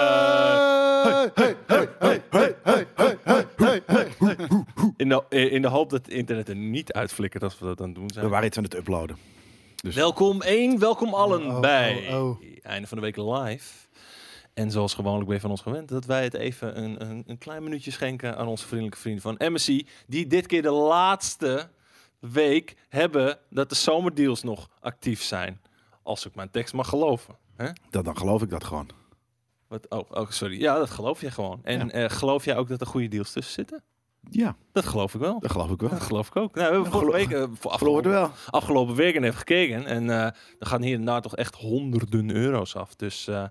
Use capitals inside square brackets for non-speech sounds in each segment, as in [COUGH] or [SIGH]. Ja! Hey, hey, hey, hey, hey, hey, hey, hey, hey. In de, in de hoop dat het internet er niet uitflikkert als we dat aan het doen zijn. We waren iets aan het uploaden. Welkom één, welkom allen Oh, oh, bij oh, oh. einde van de week live. En zoals gewoonlijk ben je van ons gewend dat wij het even een, een, een klein minuutje schenken aan onze vriendelijke vrienden van MSC. Die dit keer de laatste week hebben dat de zomerdeals nog actief zijn. Als ik mijn tekst mag geloven. hè? Dat, dan geloof ik dat gewoon. Wat, oh, oh, sorry. Ja, dat geloof je gewoon. En eh, geloof jij ook dat er goede deals tussen zitten? Ja, Dat geloof ik wel. dat geloof ik wel. Dat geloof ik ook. Nou, we hebben vorige gelo- week, eh, voor Verloren afgelopen, wel. afgelopen weekend even gekeken. En eh er gaan hier en daar toch echt honderden euro's af. Dus eh,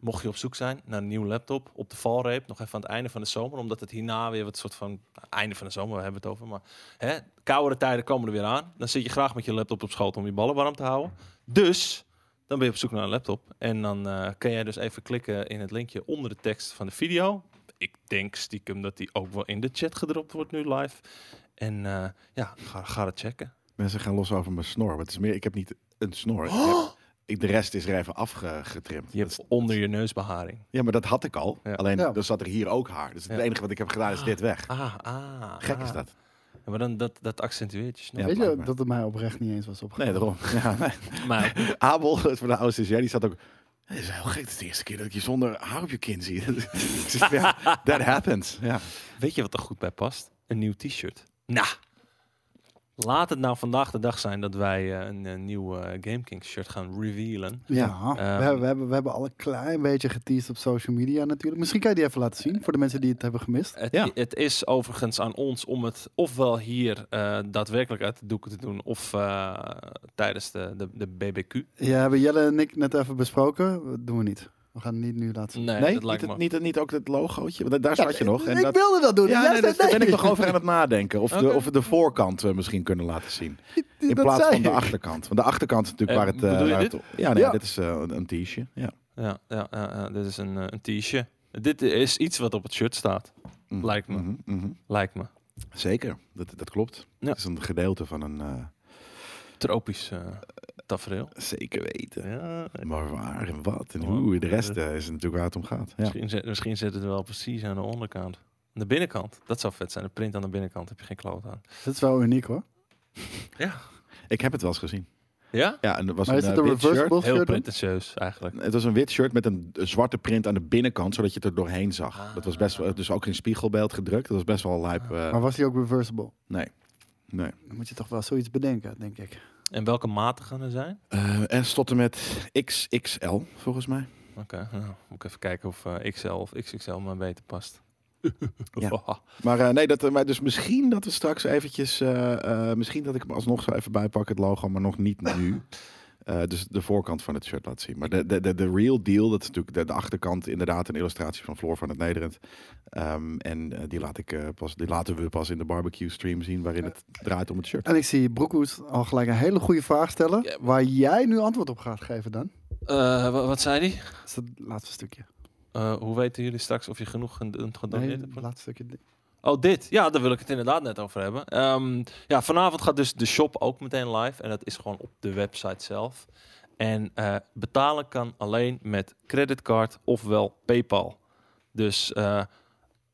mocht je op zoek zijn naar een nieuwe laptop op de valreep, nog even aan het einde van de zomer. Omdat het hierna weer wat soort van, nou, einde van de zomer, we hebben het over. Maar hè, koudere tijden komen er weer aan. Dan zit je graag met je laptop op schoot om je ballen warm te houden. Dus... Dan ben je op zoek naar een laptop. En dan eh kan jij dus even klikken in het linkje onder de tekst van de video. Ik denk stiekem dat die ook wel in de chat gedropt wordt nu live. En eh, ja, ga, ga dat checken. Mensen gaan los over mijn snor. Maar het is meer, ik heb niet een snor. Ik heb- ik, de rest is er even afgetrimd. Je hebt onder je neusbeharing. Ja, maar dat had ik al. Ja. Alleen, Ja. dan zat er hier ook haar. Dus het Ja. enige wat ik heb gedaan is dit weg. Ah, ah. Gek ah. is dat. Ja, maar dan, dat, dat accentueert je snel. Ja, Weet je blijkbaar. dat het mij oprecht niet eens was opgegaan? Nee, daarom. [LAUGHS] Ja, nee. [LAUGHS] Maar Abel het van de oude stagiair, die zat ook... Het is heel gek, het is de eerste keer dat ik je zonder haar op je kin zie. [LAUGHS] Ik zeg, ja, that happens. Ja. weet je wat er goed bij past? Een nieuw t-shirt. Nou, laat het nou vandaag de dag zijn dat wij eh, een, een nieuw eh, Game King shirt gaan revealen. Ja, we, Ehm. hebben, we, hebben, we hebben al een klein beetje geteased op social media natuurlijk. Misschien kan je die even laten zien voor de mensen die het hebben gemist. Het, Ja. het is overigens aan ons om het ofwel hier eh, daadwerkelijk uit de doeken te doen, of eh, tijdens de, de, de BBQ. Ja, hebben Jelle en ik net even besproken. Dat doen we niet. We gaan het niet nu laten zien. Nee, nee, dat niet, lijkt het- me. niet, het- niet ook dat logootje, want da- daar zat je nog. En ik dat, wilde dat doen. ja, Jij nee, zei dus daar ben ik nee. [LAUGHS] nog over aan het nadenken. Of, de, Oké. of we de voorkant eh, misschien kunnen laten zien. In Dat plaats zei van de ik. achterkant. Want de achterkant is natuurlijk Eh, waar het... eh, bedoel je waar dit? het- ja, nee, Ja. dit is eh, een- een t-shirt. Ja. Ja, ja, ja, ja, dit is een, eh, een t-shirt. Dit is iets wat op het shirt staat, Mm. Lijkt me. Mhm, mhm. lijkt me. Zeker, dat, dat klopt. Ja. Het is een gedeelte van een... eh, Tropisch eh, tafereel. zeker weten. Ja, Maar waar en wat en Ja. hoe. De rest eh, is natuurlijk waar het om gaat. Ja. Misschien, zet, misschien zit het wel precies aan de onderkant. Aan de binnenkant. Dat zou vet zijn. De print aan de binnenkant heb je geen kloot aan. Dat is wel uniek hoor. Ik heb het wel eens gezien. Ja? Ja, en het was Maar een, is het eh, een wit shirt. reversible Heel shirt? dan? pretentieus eigenlijk. Het was een wit shirt met een eh, zwarte print aan de binnenkant, zodat je het er doorheen zag. Ah. Dat was best wel, dus ook in spiegelbeeld gedrukt. Dat was best wel lijp. eh, Maar was die ook reversible? nee. Nee. Dan moet je toch wel zoiets bedenken, denk ik. En welke maten gaan er zijn? Eh, S tot en met XXL, volgens mij. Oké, [LAUGHS] nou, moet ik even kijken of eh, XL of XXL maar beter past. Ja. Maar eh, nee, dat, eh, maar dus misschien dat we straks eventjes... eh, eh, misschien dat ik hem alsnog zo even bijpak, het logo, maar nog niet nu. Eh, dus de voorkant van het shirt laat zien. Maar de, de, de, de real deal, dat is natuurlijk de, de achterkant inderdaad een illustratie van Floor van het Nederend. Ehm, en eh, die, laat ik, eh, pas, die laten we pas in de barbecue stream zien, waarin het draait om het shirt. En ik zie Broekhoes al gelijk een hele goede vraag stellen. Ja. Waar jij nu antwoord op gaat geven dan. [LAUGHS] Eh, Dus wa- wat zei die? Dat is het laatste stukje. Eh, hoe weten jullie straks of je genoeg ged- Nee, gedoneerd het hebt? laatste stukje. Oh, dit. Ja, daar wil ik het inderdaad net over hebben. Ehm, ja, vanavond gaat dus de shop ook meteen live. En dat is gewoon op de website zelf. En eh, betalen kan alleen met creditcard ofwel PayPal. Dus eh,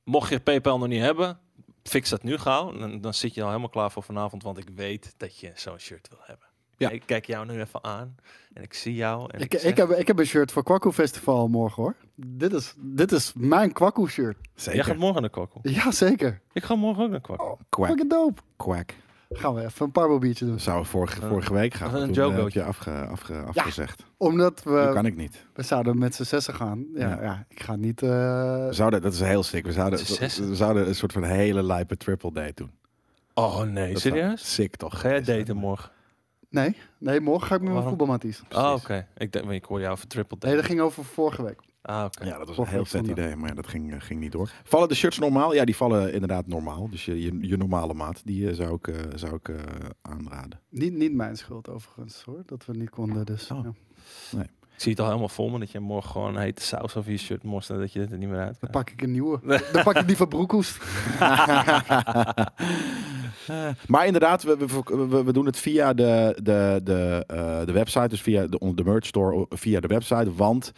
mocht je PayPal nog niet hebben, fix dat nu gauw. Dan, dan zit je al helemaal klaar voor vanavond. Want ik weet dat je zo'n shirt wil hebben. Ja. Ik kijk jou nu even aan. En ik zie jou. En Ik, ik, zeg- ik, heb, ik heb een shirt voor Kwakkoe Festival morgen hoor. Dit is, dit is mijn Kwakkoe shirt. Jij gaat Zeker. morgen naar Kwakkel. Jazeker. Ik ga morgen ook naar Kwakkel. Quack, Fucking dope. quack. Gaan we even een parbo biertje doen. Dat zou vorige, vorige week gaan. Een Toen, eh, jokootje. heb je afge, afge, afgezegd. Omdat Dat we, kan ik niet. we zouden met z'n zessen gaan. Ja, Ja. ja. ik ga niet... eh, We zouden, dat is heel sick. We zouden, Het is zes. we zouden een soort van hele lijpe triple date doen. Oh nee, Dat zou serieus? Sick toch? Ga jij daten morgen? nee, nee, morgen ga ik met mijn Waarom? voetbalmaties. Ah, Precies. oké. Ik, dacht- ik hoor jou over triple date. Nee, dat ging over vorige week. Ah, oké. Ja, dat was een Volgende heel week vet zondag. idee, maar ja, dat ging, eh, ging niet door. Vallen de shirts normaal? Ja, die vallen inderdaad normaal. Dus je, je, je normale maat, die eh, zou ik, eh, zou ik eh, aanraden. Niet, niet mijn schuld overigens hoor, dat we niet konden. Dus, Oh. ja. Ik zie het al helemaal voor me dat je morgen gewoon hete saus over je shirt morst en dat je het er niet meer uit Dan kan. pak ik een [LAUGHS] nieuwe. Dan pak ik die van Broekhoes. [LAUGHS] maar inderdaad, we, we, we- we doen het via de, de, de, eh, de website, dus via de, on- de merch store, via de website. Want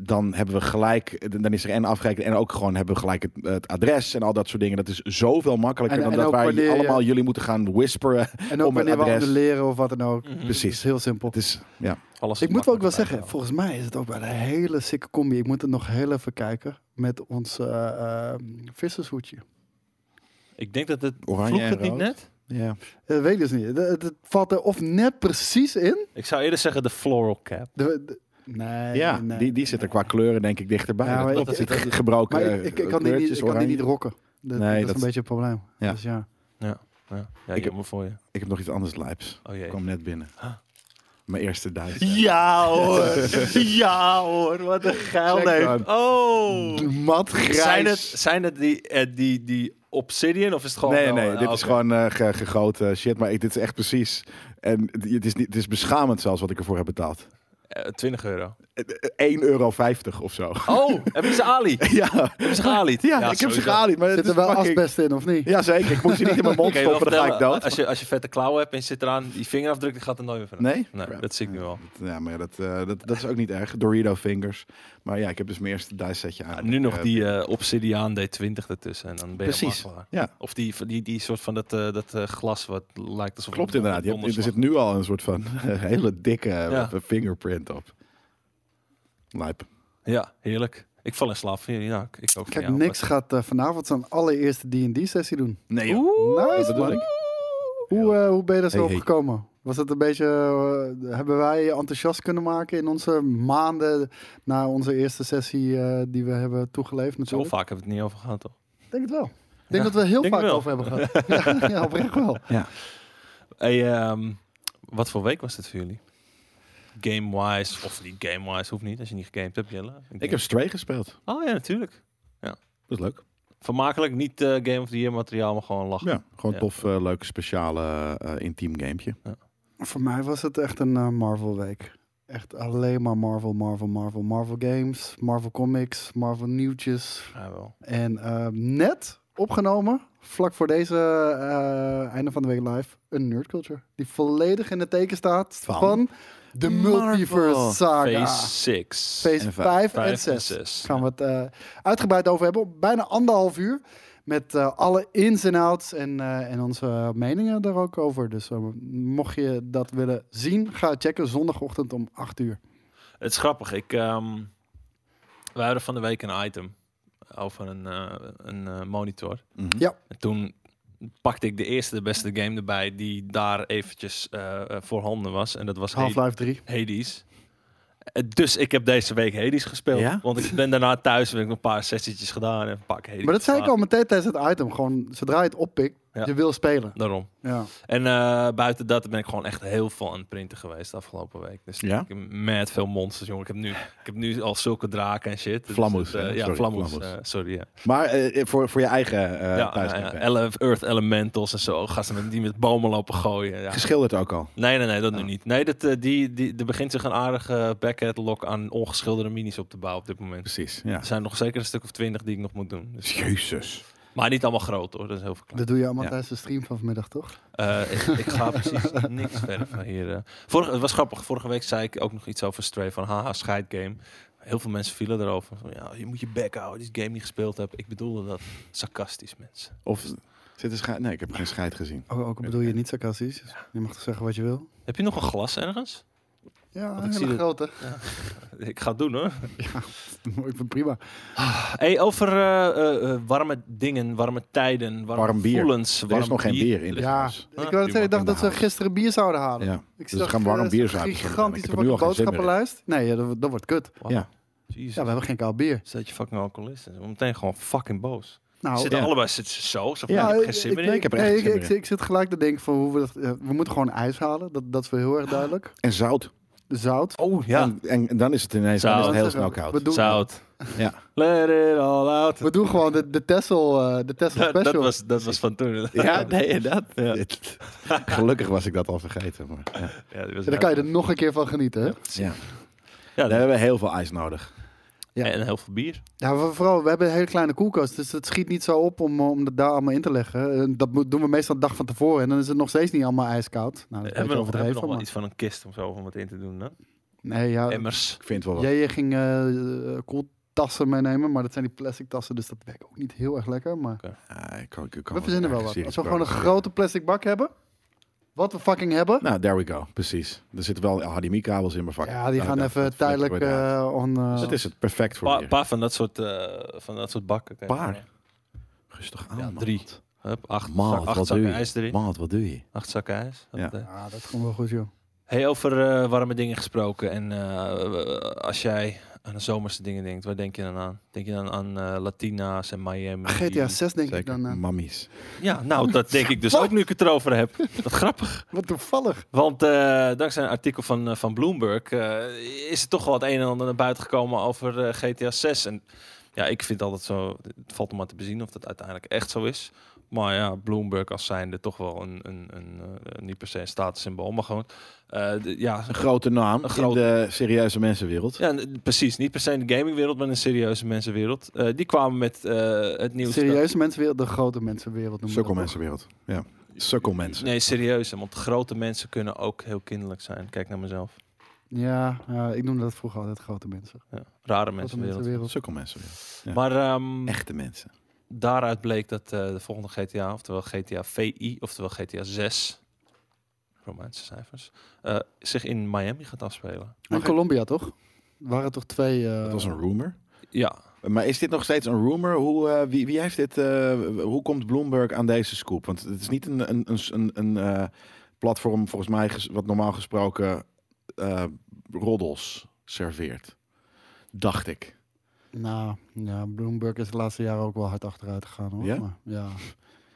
dan hebben we gelijk, dan is er en afrekenen en ook gewoon hebben we gelijk het, het adres en al dat soort dingen. Dat is zoveel makkelijker En- dan en dat ook wij wanneer je- allemaal jullie moeten gaan whisperen. [LAUGHS] En ook Om het wanneer we adres. Mhm. anderen leren of wat dan ook. Dus Het is Precies. heel simpel. Het is, ja. Alles Ik is moet wel ook wel makkelijker zeggen, volgens mij is het ook wel een hele sikke combi. Ik moet het nog heel even kijken met ons eh, eh, vissershoedje. Ik denk dat het... Oranje Vroeg en het niet rood. net? ja. Dat weet ik dus niet. Het, het- het valt er of net precies in. Ik zou eerder zeggen de floral cap. De, de- nee, ja nee. die, die zit er qua kleuren denk ik dichterbij. Ja, maar dat, ik- dat ik- zit ge- [LAUGHS] gebroken Maar ik, ik, ik eh, kan die niet, kleurtjes, ik kan die oranje. niet rocken. Dat, Nee, dat is dat- een beetje een probleem. Ja. Eh, Dus ja. Ja, ja Ik- jammer voor je. Ik heb nog iets anders lijps. Oh jee. Ik kwam net binnen. Huh? Mijn eerste duizend. [LAUGHS] Ja hoor, ja hoor, wat een geil Check neef. dan. Oh, Mat grijs. zijn het, zijn het die, eh, die, die Obsidian of is het gewoon... nee, wel- nee, ah, dit is oké. gewoon eh, ge- gegoten shit. Maar ik, dit is echt precies. En het- het is, niet, het is beschamend zelfs wat ik ervoor heb betaald. Eh, 20 euro. 1,50 euro of zo. Oh, heb je ze Ali? Heb [LAUGHS] ja, je ze gealied? ja, ik heb ze sowieso. gealied. Maar het Zit is er wel fucking... asbest in of niet? dus Ja, zeker. Ik moest ze niet [LAUGHS] in mijn mond Ik kan je wel stoppen, dan ga ik vertellen, dood. Als je, als je vette klauwen hebt en je zit eraan, die vingerafdruk, die gaat er nooit meer vanaf. Nee? Nee, Crap. dat zie ik nu al. Ja, maar ja, dat, eh, dat, dat is ook niet erg. Dorito fingers. Maar ja, ik heb dus mijn eerste dice setje aan. Ja, nu nog Eh, die eh, Obsidian D20 ertussen en dan ben je Precies, helemaal klaar. ja. Of die, die, die soort van dat, eh, dat eh, glas wat lijkt alsof... Klopt inderdaad. Je hebt- er zit nu al een soort van [LAUGHS] hele dikke eh, fingerprint op. Lijp. Ja, heerlijk. Ik val in slaap. Ja, Ja, ik- ik ook van Kijk, jou, Nix gaat eh, vanavond zijn allereerste D&D-sessie doen. Nee, joh. dat Nice, bedoel man. ik. Hoe, eh, hoe ben je daar zo Hey, op hey. gekomen? Was het een beetje... eh, hebben wij je enthousiast kunnen maken in onze maanden... na onze eerste sessie eh, die we hebben toegeleefd Zo natuurlijk? vaak hebben we het niet over gehad, toch? Ik denk het wel. Ik denk Ja, dat we er heel denk vaak het wel. over hebben gehad. [LAUGHS] ja, ja, oprecht wel. Hey, ehm, wat voor week was dit voor jullie? Game-wise, of niet game-wise, hoeft niet. Als je niet gegamed hebt, Jelle. Ik heb Stray gespeeld. Oh ja, natuurlijk. Dat is leuk. Vermakelijk, niet eh, Game of the Year materiaal, maar gewoon lachen. Ja, gewoon Ja. tof, eh, leuk, speciale, eh, intiem gamepje. Voor mij was het echt een eh, Marvel week. Echt alleen maar Marvel, Marvel, Marvel, Marvel games, Marvel comics, Marvel nieuwtjes. Ja, wel. En eh, net opgenomen, vlak voor deze eh, einde van de week live, een nerd culture. Die volledig in het teken staat van, Van? de Marvel. multiverse saga. Phase 6. Phase En 5 5 en en 6. 6. gaan we het eh, uitgebreid over hebben. Bijna anderhalf uur. Met eh, alle ins en outs en, eh, en onze meningen daar ook over. Dus eh, mocht je dat willen zien, ga het checken zondagochtend om 8 uur. Het is grappig. Ik, ehm we hadden van de week een item over een, eh, een eh, monitor. Mhm. Ja. En toen pakte ik de eerste, de beste game erbij die daar eventjes eh eh, voorhanden was. En dat was Hades. Half-Life 3. Hades. Eh, Dus ik heb deze week Hades gespeeld. Ja? Want ik ben daarna thuis heb ik nog een paar sessietjes gedaan en een pak Hades. Maar dat zei ik al gedaan. meteen tijdens het item. Gewoon zodra je het oppikt, Ja. je wil spelen. Daarom. Ja. En eh, buiten dat ben ik gewoon echt heel veel aan het printen geweest de afgelopen week. Dus Ja? ik heb met veel monsters, jongen. Ik heb nu, ik heb nu al zulke draken en shit. Dus Vlammoes, het, eh, hè? ja, Sorry, Vlammoes. Vlammoes. eh, sorry, ja. Maar eh, voor, voor je eigen eh ja, nou thuiskamp, ja, hè? Ele- Earth Elementals en zo. Gasten met, die met bomen lopen gooien. Ja. Geschilderd ook al. Nee, nee, nee, dat nu Ja. niet. Nee, dat, eh, die, die, er begint zich een aardige backcatalog aan ongeschilderde minis op te bouwen op dit moment. Precies, ja. Er zijn nog zeker een stuk of twintig die ik nog moet doen. Dus, Jezus. maar niet allemaal groot hoor, dat is heel veel klein. Dat doe je allemaal Ja. tijdens de stream van vanmiddag, toch? Eh, ik, ik ga precies niks verven hier. eh. Vorige, het was grappig, vorige week zei ik ook nog iets over Stray van haha, scheidgame. Heel veel mensen vielen erover. Van, ja, je moet je bek houden, die game niet gespeeld hebt. Ik bedoelde dat sarcastisch, mensen. Of zit er scheid? Nee, ik heb geen scheid gezien. Oh, Ook, ook bedoel je niet sarcastisch. Je mag toch zeggen wat je wil? Heb je nog een glas ergens? Ja, Want een ik hele zie [LAUGHS] grote. Ik ga het doen hoor. ik ben prima. Hey, over eh, eh, eh, warme dingen, warme tijden, warme Warm bier. gevoelens. Er is nog geen bier in dit Ja, huis. ik, wou net zeggen, ik dacht dat ze gisteren bier zouden halen. Ja. Ik Dus we gaan warm eh, bier zuipen zo'n zo meteen. Ik Gigantische heb er nu al geen zin meer in. boodschappenlijst. Nee, ja, dat, dat wordt kut. Ja. Jezus. Ja, we hebben geen koud bier. Is dat je fucking alcoholist? is? Meteen gewoon fucking boos. Nou, zitten ja. allebei zitten ze zo. zo van, Ja, ik heb eh, geen zin meer in. nee, ik heb er echt nee, zin meer ik, in. ik zit gelijk te denken van hoe we dat... eh, we moeten gewoon ijs halen. Dat, dat is wel heel erg duidelijk. En zout. Zout. Dus Oh ja. En, en, en dan is het ineens dan is het Zout. heel snel koud. We doen, Zout. Ja. Let it all out. We doen gewoon de, de Tessel, eh, de [LAUGHS] Tessel Dat, Special. dat, was, dat was van toen. [LAUGHS] Ja, nee, dat. Ja. Gelukkig was ik dat al vergeten. Maar, ja. Ja, die was En dan kan je heel- er nog een keer van genieten. Hè? Ja. Ja, We hebben heel veel ijs nodig. Ja. En heel veel bier. Ja, we, vooral, we hebben een hele kleine koelkast. Dus het schiet niet zo op om, eh, om dat daar allemaal in te leggen. Eh, Dat moet- doen we meestal de dag van tevoren. En dan is het nog steeds niet allemaal ijskoud. Nou, dat is een hebben beetje we nog, hebben we nog overdreven. wel Maar. iets van een kist of zo om het in te doen? Hè? Nee, ja. Emmers. Ik vind wel wat. Jij jij ging eh koeltassen meenemen, maar dat zijn die plastic tassen, dus dat werkt ook niet heel erg lekker. Maar Ah, ik kan, ik kan we verzinnen wel ergens wat. hier Als we iets gewoon een proberen. grote plastic bak hebben, wat we fucking hebben. Nou, there we go. Precies. Er zitten wel HDMI-kabels in mijn vak. Nou, ja, die gaan even tijdelijk eh on. eh, Dus het is het perfect voor Een hier. paar van dat soort, eh, van dat soort bakken. Kijk, Paar? eh, Rustig aan, Ja, man. drie. Hup, acht, Maat, zak- acht wat doe zakken je? ijs erin. Maat, wat doe je? Acht zakken ijs. Ja. Hup, eh. ja, dat komt wel goed, joh. Hey, over eh, warme dingen gesproken. En eh, als jij aan de zomerse dingen denkt, waar denk je dan aan? Denk je dan aan eh, Latina's en Miami? GTA 6 denk ik Zeker. dan. eh, Mammies. Ja, nou, dat denk ik dus ook nu ik het erover heb. Wat grappig. wat toevallig. Want eh, dankzij een artikel van, eh, van Bloomberg eh, is er toch wel het een en ander naar buiten gekomen over eh, GTA 6. En ja, ik vind altijd zo, het valt om maar te bezien of dat uiteindelijk echt zo is. Maar ja, Bloomberg als zijnde toch wel een, een, een eh, niet per se een statussymbool, maar gewoon, eh, de- ja, Een grote naam Een grote- in de serieuze mensenwereld. Ja, n- precies. Niet per se in de gamingwereld, maar in de serieuze mensenwereld. Eh, die kwamen met eh, het nieuws. dat- Serieuze mensenwereld, de grote mensenwereld noemen we dat ook. Sukkelmensenwereld. Ja. Sukkelmensen. Nee, serieus. Want grote mensen kunnen ook heel kinderlijk zijn. Kijk naar mezelf. Ja, ja, ik noemde dat vroeger altijd grote mensen. Ja, rare Grote mensenwereld. mensenwereld. Sukkelmensenwereld. ja. Maar ehm, Echte mensen. daaruit bleek dat eh, de volgende GTA, oftewel GTA VI, oftewel GTA 6, Romeinse cijfers, eh, zich in Miami gaat afspelen. En Colombia toch? Waren toch twee. eh, Dat was een rumor. Ja, Maar is dit nog steeds een rumor? Hoe, eh, wie, wie heeft dit, eh, hoe komt Bloomberg aan deze scoop? Want het is niet een, een, een, een, een, eh, platform, volgens mij, ges- wat normaal gesproken eh, roddels serveert. Dacht ik. Nou, ja, Bloomberg is de laatste jaren ook wel hard achteruit gegaan hoor. Ja? Maar, ja.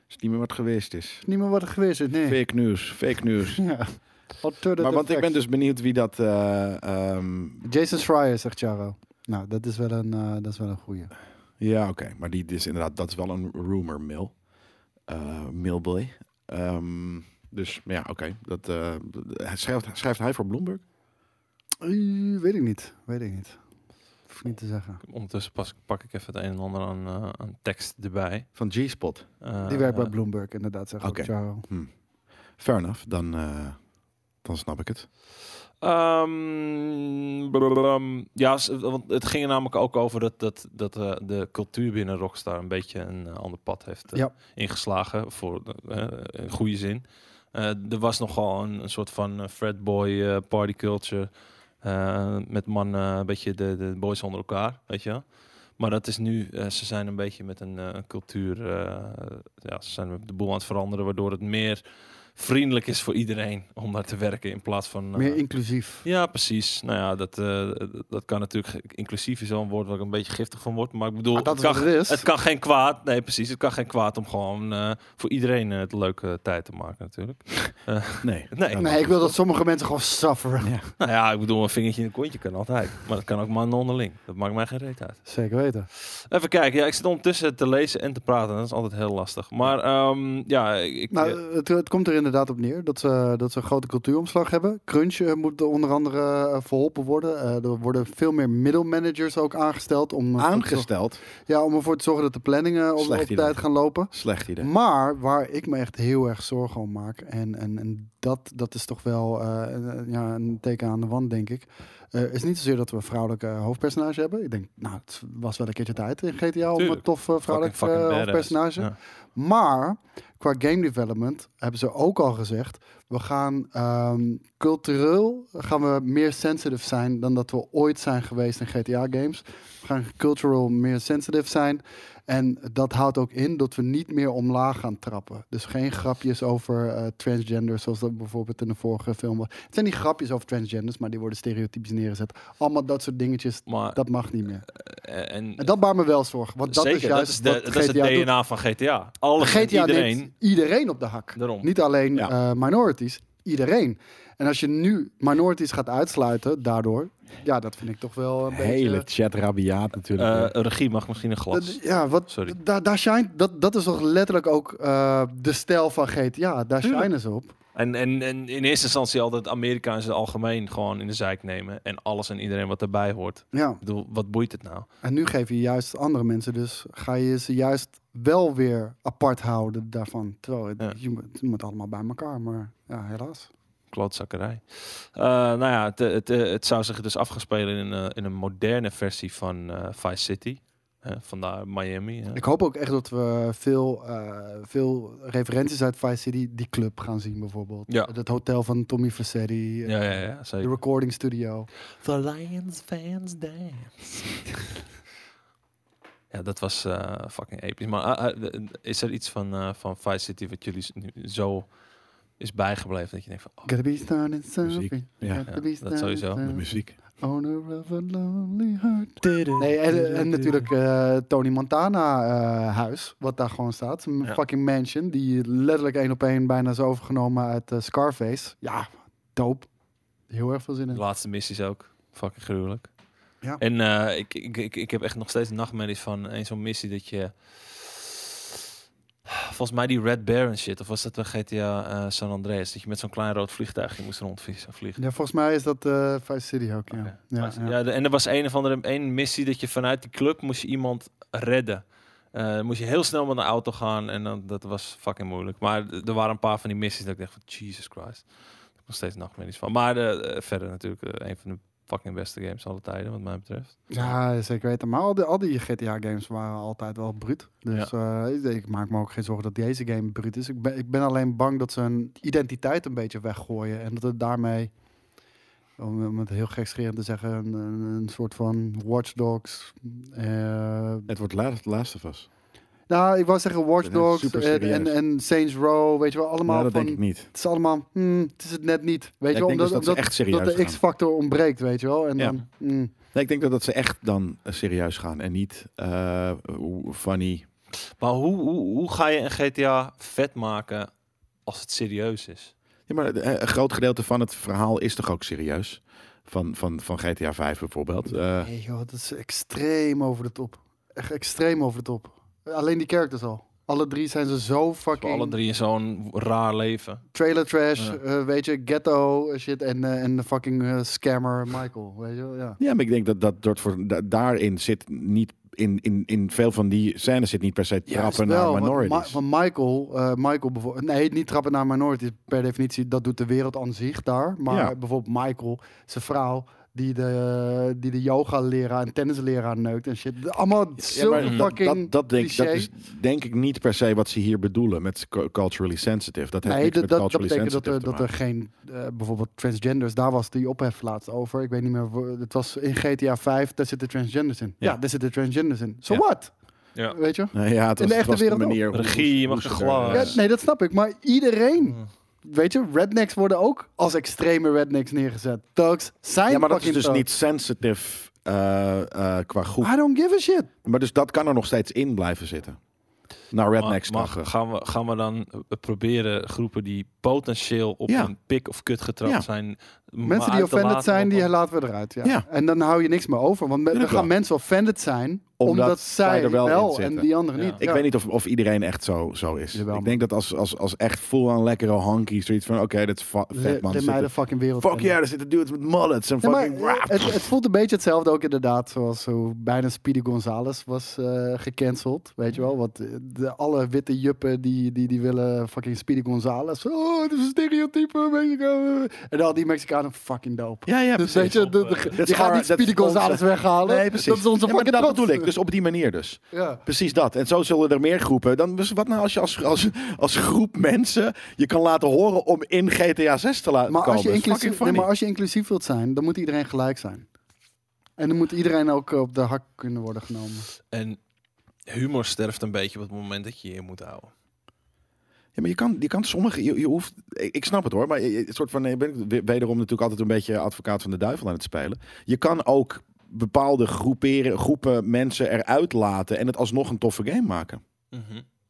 Is niet meer wat geweest is. Niet meer wat er geweest is, nee. Fake news, fake news. [LAUGHS] Ja. Alternative maar want ik ben facts. dus benieuwd wie dat. eh, ehm, Jason Schreier, zegt Charo. Nou, dat is wel een, eh, dat is wel een goeie. ja, oké. Maar die die is inderdaad, dat is wel een rumor mill. Eh Millboy. Ehm, dus maar ja, oké. Dat eh, hij schrijft, schrijft hij voor Bloomberg? Eh, weet ik niet, weet ik niet. Hoef ik niet te zeggen. ondertussen pas, pak ik even het een en ander aan, eh, aan tekst erbij. Van G-Spot. Eh, Die werkt bij eh, Bloomberg, inderdaad, zegt Oké. ook Charo. Fair enough, dan, eh, dan snap ik het. Ehm, blablablam. ja, s- want het ging er namelijk ook over dat, dat, dat eh, de cultuur binnen Rockstar een beetje een eh, ander pad heeft eh, Ja. ingeslagen. Voor eh, in goede zin. Eh, er was nogal een, een soort van eh, fratboy eh, party culture. eh, met mannen, een beetje de, de boys onder elkaar, weet je wel. Maar dat is nu, eh, ze zijn een beetje met een, eh, een cultuur, eh, ja, ze zijn de boel aan het veranderen, waardoor het meer vriendelijk is voor iedereen om daar te werken in plaats van... eh, Meer inclusief. ja, precies. Nou ja, dat, eh, dat kan natuurlijk. ge- Inclusief is wel een woord waar ik een beetje giftig van word. Maar ik bedoel, Maar dat het, is kan, wat er is. het kan geen kwaad. Nee, precies. Het kan geen kwaad om gewoon eh, voor iedereen eh, het leuke tijd te maken, natuurlijk. [LAUGHS] Nee. Nee. Dan- Nee, ik wil dat sommige mensen gewoon sufferen. [LAUGHS] Nou ja, ik bedoel, een vingertje in een kontje kan altijd. Maar dat kan ook mannen onderling. Dat maakt mij geen reet uit. Zeker weten. Even kijken. Ja, ik zit ondertussen te lezen en te praten. Dat is altijd heel lastig. Maar ehm, ja, ik. eh, Nou, het, het komt er inderdaad op neer dat ze, dat ze een grote cultuuromslag hebben. Crunch eh, moet er onder andere eh, verholpen worden. Eh, er worden veel meer middelmanagers ook aangesteld om, ervoor te Aangesteld. zorgen- ja, om ervoor te zorgen dat de planningen op, Slecht op idee. tijd gaan lopen. Slecht idee. Maar waar ik me echt heel erg zorgen om maak, en, en, en dat, dat is toch wel eh, een- ja, een teken aan de wand, denk ik, eh, is niet zozeer dat we een vrouwelijke eh, hoofdpersonage hebben. Ik denk, nou, het was wel een keertje tijd in GTA om een Tuurlijk. tof eh, fucking- vrouwelijk fucking eh, badass. hoofdpersonage. Ja. Maar qua game development hebben ze ook al gezegd: we gaan ehm, cultureel gaan we meer sensitive zijn dan dat we ooit zijn geweest in GTA games. We gaan cultural meer sensitive zijn. En dat houdt ook in dat we niet meer omlaag gaan trappen. Dus geen grapjes over eh, transgender, zoals dat bijvoorbeeld in de vorige film was. Het zijn niet grapjes over transgenders, maar die worden stereotypisch neergezet. Allemaal dat soort dingetjes, Maar, dat mag niet meer. eh, en, En dat baart me wel zorgen, want dat zeker, is juist dat is, de, wat dat is het GTA doet. DNA van GTA. Alle GTA iedereen. neemt iedereen op de hak. Daarom. Niet alleen Ja. eh, minorities, iedereen. En als je nu minorities gaat uitsluiten, daardoor, ja, dat vind ik toch wel een Hele beetje. chat rabiaat natuurlijk. Eh, regie mag misschien een glas. Dat- ja, wat, Sorry. Daar, daar shine, dat, dat is toch letterlijk ook eh, de stijl van GTA. Daar Tuurlijk. shinen ze op. En, en, en in eerste instantie altijd Amerika in zijn algemeen gewoon in de zijk nemen. En alles en iedereen wat daarbij hoort. Ik Ja. bedoel, wat boeit het nou? En nu geef je juist andere mensen, dus ga je ze juist wel weer apart houden daarvan. Terwijl het- Ja. je, moet, het moet allemaal bij elkaar, maar ja, helaas. Klootzakkerij. Eh, nou ja, het, het, eh, het zou zich dus afgespelen in, eh, in een moderne versie van eh, Vice City. Eh, vandaar Miami. eh. Ik hoop ook echt dat we veel, eh, veel referenties uit Vice City, die club gaan zien bijvoorbeeld. Ja. Het hotel van Tommy Vercetti, eh, Ja, ja, ja, de zeker. recording studio. The Lions fans dance. [LAUGHS] ja, dat was eh, fucking episch. Maar ah, ah, de- is er iets van, eh, van Vice City wat jullie s- nu zo is bijgebleven dat je denkt van... oh, Gotta be starting something. Ja. Gotta Ja, be dat starting sowieso. De De something. muziek. Owner of a lonely heart. Nee, en, en natuurlijk eh, Tony Montana eh, huis, wat daar gewoon staat. Een Ja. fucking mansion, die letterlijk één op één bijna is overgenomen uit eh, Scarface. Ja, dope. Heel erg veel zin De in. laatste missies ook. Fucking gruwelijk. Ja. En eh, ik, ik, ik, ik heb echt nog steeds nachtmerries van een zo'n missie dat je... Volgens mij die Red Baron shit. Of was dat bij GTA eh, San Andreas? Dat je met zo'n klein rood vliegtuigje moest rondvliegen. vliegen. Ja, volgens mij is dat eh Vice City ook, ja. Oké. Ja, Maar- ja. ja. de- en er was een of andere één missie dat je vanuit die club moest je iemand redden. Eh, dan moest je heel snel met een auto gaan en dan, dat was fucking moeilijk. Maar d- er waren een paar van die missies dat ik dacht van Jesus Christ. Ik heb nog steeds nachtmerries van. Maar eh, eh, verder natuurlijk eh, een van de fucking beste games alle tijden wat mij betreft. Ja, zeker weten. Maar al die, al die GTA-games waren altijd wel bruut. Dus eh, ik- ik maak me ook geen zorgen dat deze game bruut is. Ik ben, ik ben alleen bang dat ze hun identiteit een beetje weggooien. En dat het daarmee, om, om het heel gekscherend te zeggen, een, een, een soort van Watch Dogs... eh, Het wordt laat, laatste vast. nou, ik wou zeggen Watch Ja, Dogs super en, en, serieus. en Saints Row, weet je wel, allemaal Maar Nou, dat van... denk ik niet. Het is allemaal, hmm, het is het net niet. Weet je ik wel, denk omdat, dus dat ze omdat- echt dat serieus de gaan. X-factor ontbreekt, weet je wel. En Ja. dan, hmm. Nee, ik denk dat, dat ze echt dan eh, serieus gaan en niet eh, hoe funny. Maar hoe, hoe, hoe ga je een GTA vet maken als het serieus is? Ja, maar eh, een groot gedeelte van het verhaal is toch ook serieus? Van, van, van GTA 5 bijvoorbeeld. Eh, Nee joh, dat is extreem over de top. Echt extreem over de top. Alleen die characters al. Alle drie zijn ze zo Voor fucking alle drie in zo'n raar leven. trailer trash, Ja. eh, weet je, ghetto eh, shit en, eh, en de fucking eh, scammer Michael, weet je wel, ja. ja, maar ik denk dat, dat, dat voor, da- daarin zit niet... In, in, in veel van die scènes zit niet per se trappen Juist wel, naar want minorities. Ma- Want Michael, eh, Michael bijvoorbeeld, nee, niet trappen naar minorities per definitie, dat doet de wereld aan zich daar. Maar Ja. bijvoorbeeld Michael, zijn vrouw, die de, die de yoga-leraar en tennisleraar neukt en shit. Allemaal Ja, zo maar dat- fucking dat, dat, denk, dat cliché. is denk ik niet per se wat ze hier bedoelen met cu- culturally sensitive. Dat heeft Nee, niks dat, met dat, dat culturally betekent dat sensitive er, dat er geen, eh, bijvoorbeeld transgenders, daar was die ophef laatst over. Ik weet niet meer, wo- het was in GTA 5, daar zitten transgenders in. Ja, Ja. daar zitten transgenders in. So Ja. what? Ja. Weet je? Nee, ja, het in was, de het echte was de wereld ook. manier hoe- Regie, je hoe mag ze een er- glas. Ja, Eh. nee, dat snap ik. Maar iedereen, Mm. weet je, rednecks worden ook als extreme rednecks neergezet. Thugs zijn Ja, maar dat is fucking dus thugs. niet sensitive eh, eh, qua groep. I don't give a shit. Maar dus dat kan er nog steeds in blijven zitten. Naar rednecks Maar- maar dagen. gaan, we, gaan we dan eh, proberen groepen die potentieel op Ja. een pik of kut getrapt Ja. zijn... Mensen die offended zijn, die laten we eruit. Ja. Ja. En dan hou je niks meer over. Want me- Ja, dan klopt. gaan mensen offended zijn, omdat, Omdat zij zij er er wel, wel in en zitten. die anderen Ja. niet. Ik Ja. weet niet of, of iedereen echt zo, zo is. Jawel, ik denk dat als, als, als echt full-on lekkere honky zoiets van... Oké, dat is fa- Le- vet man. Let er mij de zitten- fucking wereld Fuck kennen. yeah, er zitten dudes met mullets en Ja, maar eh, fucking rap. het, het voelt een beetje hetzelfde ook inderdaad, zoals hoe bijna Speedy Gonzales was eh, gecanceld, weet je wel. Want eh, de, alle witte juppen die, die, die willen fucking Speedy Gonzales. Oh, het is een stereotype, Mexicaan. En al die Mexicanen fucking [LAUGHS] dope. Ja, ja, dus precies. weet je, de, de- is die gaan our- niet dat is Speedy Gonzales onze- weghalen. Nee, precies. Dat is Ja, onze maar dat fucking trots. bedoel ik, dus op die manier dus. Ja. Precies dat. En zo zullen er meer groepen. Dan, dus wat nou als je als, als, als groep mensen je kan laten horen om in GTA 6 te laten Maar komen? als, je Dat is inclusief, nee, fucking maar funny. als je inclusief wilt zijn, dan moet iedereen gelijk zijn. En dan moet iedereen ook op de hak kunnen worden genomen. En humor sterft een beetje op het moment dat je je in moet houden. Ja, maar je kan, je kan sommige, je, je hoeft, ik, ik snap het hoor, maar je- je- een soort van, nee, ben ik we- wederom natuurlijk altijd een beetje advocaat van de duivel aan het spelen. Je kan ook bepaalde groeperen, groepen mensen eruit laten en het alsnog een toffe game maken.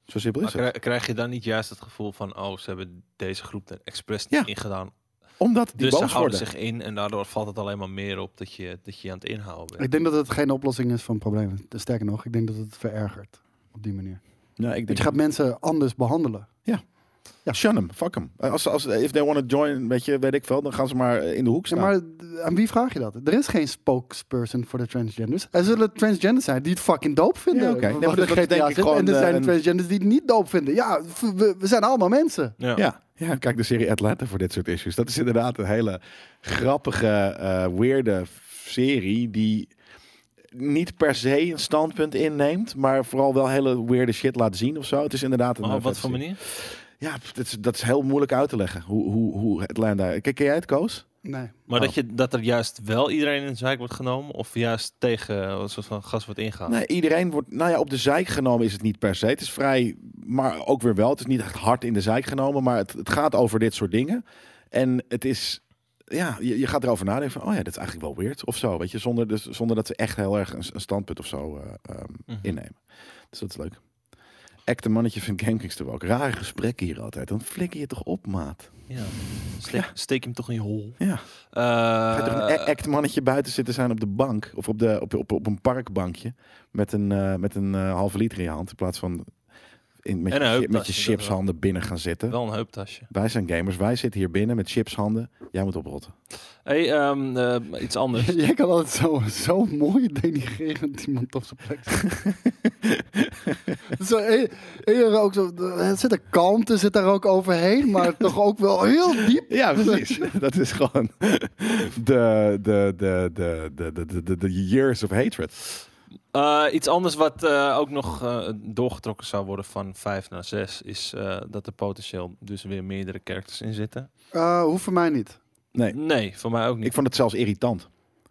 Zo simpel Maar is het. krij- krijg je dan niet juist het gevoel van... oh, ze hebben deze groep er expres niet Ja. ingedaan. Omdat die Dus ze boos houden worden. zich in en daardoor valt het alleen maar meer op... dat je, dat je aan het inhouden bent. Ik denk dat het geen oplossing is van problemen. Dus Sterker nog, ik denk dat het verergert op die Ja, manier. ik Want denk, je gaat mensen anders behandelen. ja, shun 'em, fuck 'em. Als, als, if they want to join, weet je, weet ik veel, dan gaan ze maar eh, in de hoek Ja, staan. maar d- aan wie vraag je dat? Er is geen spokesperson voor de transgenders. Er zullen transgenders zijn die het fucking dope vinden. Ja, oké. Nee, Wat maar de dus dat is GTA denk ik zegt. gewoon, en er eh, zijn een- transgenders die het niet dope vinden. Ja, v- we, we zijn allemaal mensen. Ja. ja. Ja, kijk de serie Atlanta voor dit soort issues. Dat is inderdaad een hele grappige, eh weirde serie die niet per se een standpunt inneemt, maar vooral wel hele weirde shit laat zien of zo. Het is inderdaad een. Maar eh, Oh, op wat vette voor serie. manier? Ja, pff, dat is, dat is heel moeilijk uit te leggen. Hoe, hoe, hoe Atlanta. Kijk, ken jij het, Koos? Nee. Maar Oh. dat, je, dat er juist wel iedereen in de zaak wordt genomen of juist tegen eh, een soort van gas wordt ingehaald? Nee, iedereen wordt. Nou ja, op de zeik genomen is het niet per se. Het is vrij. Maar ook weer wel. Het is niet echt hard in de zeik genomen. Maar het, het gaat over dit soort dingen. En het is. Ja, je, je gaat erover nadenken van, oh ja, dit is eigenlijk wel weird of zo, weet je, zonder, dus, zonder dat ze echt heel erg een, een standpunt of zo eh, ehm, Mhm. innemen. Dus dat is leuk. Echte mannetje van Gamekingster ook. Rare gesprekken hier altijd. Dan flikker je toch op, maat. Ja. Eh, Steek, steek hem toch in je hol. Ja. Ga je toch een Eh. e- a- act mannetje buiten zitten zijn op de bank of op, de, op, op, op een parkbankje met een, eh, met een eh, halve liter in je hand in plaats van in, met, En een je, chi- met je heuptasje, dat chipshanden binnen gaan zitten. Wel een heuptasje. Wij zijn gamers, wij zitten hier binnen met chipshanden. Jij moet oprotten. hey, ehm, eh, iets anders. [LAUGHS] [LAUGHS] Jij kan altijd zo, zo mooi denigrerend iemand op zijn plek [LAUGHS] zetten. zo, eh, eh, ook zo, er zit een kalmte zit daar ook [LAUGHS] overheen, maar toch ook wel heel diep. Ja, precies. [LAUGHS] Dat is gewoon de, de, de, de, de, de, de, de, de years of hatred. Eh, iets anders wat eh, ook nog eh, doorgetrokken zou worden van 5 naar 6 is eh, dat er potentieel dus weer meerdere characters in zitten. Eh hoeft voor mij niet. Nee, Nee, voor mij ook niet. ik vond het zelfs irritant.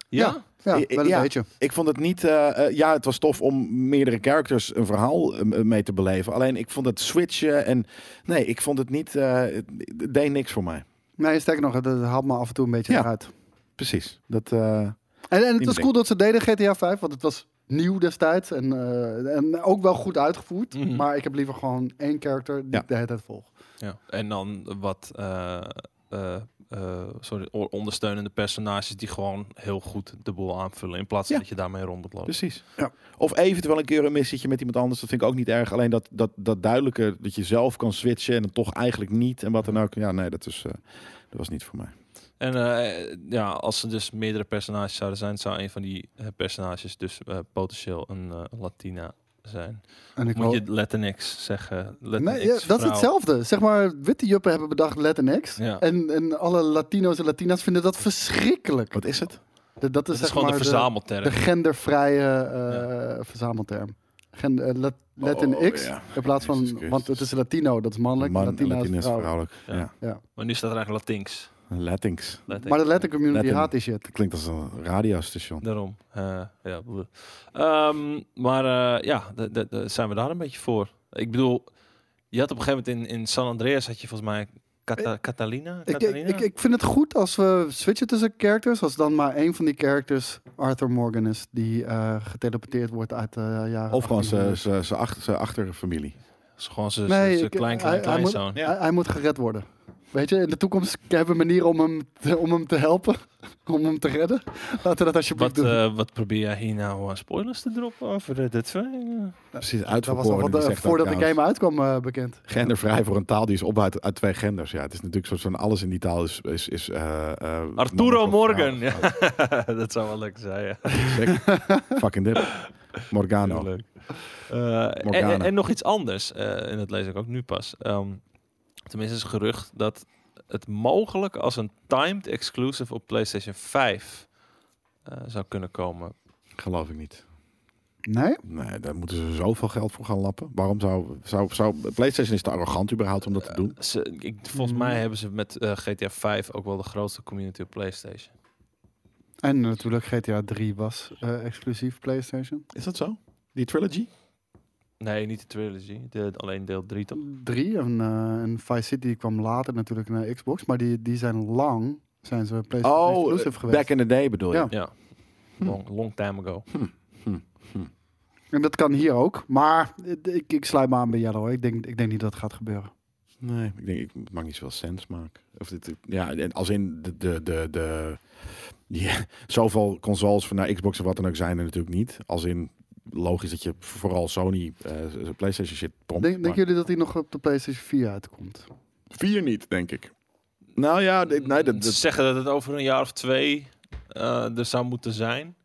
ja? Ja, Eh, eh, wel een ja. beetje. Ik vond het niet. eh, eh, ja, het was tof om meerdere characters een verhaal eh, mee te beleven. Alleen ik vond het switchen en. Nee, ik vond het niet. eh, het het deed niks voor mij. Nee, sterker nog, dat haalt me af en toe een beetje Ja. eruit. Precies. Dat, eh, En, en het was Inbreng. cool dat ze deden GTA 5, want het was nieuw destijds en, eh, en ook wel goed uitgevoerd. Mhm. Maar ik heb liever gewoon één character die Ja. ik de hele tijd volg. Ja. En dan wat eh, eh, eh, sorry, o- ondersteunende personages die gewoon heel goed de boel aanvullen. In plaats van Ja. dat je daarmee rond moet lopen. precies. Ja. Of eventueel een keer een missietje met iemand anders. Dat vind ik ook niet erg. Alleen dat, dat, dat duidelijke dat je zelf kan switchen en dan toch eigenlijk niet. En wat dan ook. Ja, nee, dat, is, eh, dat was niet voor mij. En eh, ja, als er dus meerdere personages zouden zijn, zou een van die eh, personages dus eh, potentieel een eh, Latina zijn. En ik Moet hoop- je Latinx zeggen? Latinx Nee, ja, dat is vrouw. hetzelfde. Zeg maar, witte juppen hebben bedacht Latinx. Ja. En, en alle Latino's en Latina's vinden dat verschrikkelijk. Wat is het? Dat, dat is, Dat is zeg gewoon maar een de- verzamelterm. de, gendervrije eh, verzamelterm. Gen, eh, Lat- Latinx. Oh, ja. In plaats van, Jezus Christus. want het is Latino, dat is mannelijk. Man, Latina is Latino is vrouw. vrouwelijk. Ja. Ja. Maar nu staat er eigenlijk Latinx. Latinx. Latinx. Maar de Latin community Latin. haat die shit. Dat klinkt als een radiostation. Daarom. eh, ja, bleh. Ehm, maar eh, ja, de- de- de- zijn we daar een beetje voor? Ik bedoel, je had op een gegeven moment in, in San Andreas had je volgens mij Cata- Catalina. Ik, ik, Catalina? ik, ik vind het goed als we switchen tussen characters. Als dan maar één van die characters Arthur Morgan is. Die eh, geteleporteerd wordt uit de jaren Of gewoon 1800. zijn achter, z'n achterfamilie. Dat is gewoon zijn Nee, zijn ik- klein, hij- klein, hij moet- kleinzoon. Ja. Hij, hij moet gered worden. Weet je, in de toekomst hebben we manieren om hem te, om hem te helpen. [LAUGHS] Om hem te redden. Laten we dat alsjeblieft Wat, doen. eh, wat probeer jij hier nou aan spoilers te droppen over de, de twee? Eh, Precies, dat was al uitverkoren. wat, die eh, zegt dat voordat de trouwens. game uitkwam eh, bekend. Gendervrij voor een taal die is opgebouwd uit, uit twee genders. Ja, het is natuurlijk soort van alles in die taal is... is, is eh, eh, mannelijk Arturo of Morgan. vrouwelijk. Ja, [LAUGHS] dat zou wel lekker zijn. Ja. Oh, [LAUGHS] Sick. Fucking dip. Morgano. Leuk. Eh, en, Morgana. en- en nog iets anders, eh, en dat lees ik ook nu pas. Ehm, tenminste, is het gerucht dat het mogelijk als een timed exclusive op PlayStation 5 eh, zou kunnen komen. Geloof ik niet. Nee? Nee, daar moeten ze zoveel geld voor gaan lappen. Waarom zou... zou, zou PlayStation is te arrogant überhaupt om dat te doen. Ze, ik, volgens Hmm. mij hebben ze met eh, GTA 5 ook wel de grootste community op PlayStation. En natuurlijk GTA 3 was eh, exclusief PlayStation. Is dat zo? Die trilogy? Nee, niet de trilogy, de, alleen deel 3 toch? 3 en, eh, en Vice City kwam later natuurlijk naar Xbox. Maar die, die zijn lang, zijn ze PlayStation Oh, exclusive eh, geweest. back in the day bedoel je? Ja. Ja, long, long time ago. En dat kan hier ook. Maar ik, ik sluit me aan bij Jello. Ik denk, ik denk niet dat het gaat gebeuren. Nee, ik denk, ik het maakt niet zoveel sens maken. Of dit, dit- ja, en als in de, de, de, de ja, [LAUGHS] zoveel consoles van naar Xbox of wat dan ook zijn er natuurlijk niet. Als in logisch dat je vooral Sony eh, PlayStation shit pompt. Denk, maar denken jullie dat die nog op de PlayStation 4 uitkomt? vier niet, denk ik. Nou ja, dit- nee, dat, Ze dat- zeggen dat het over een jaar of twee eh, er zou moeten zijn.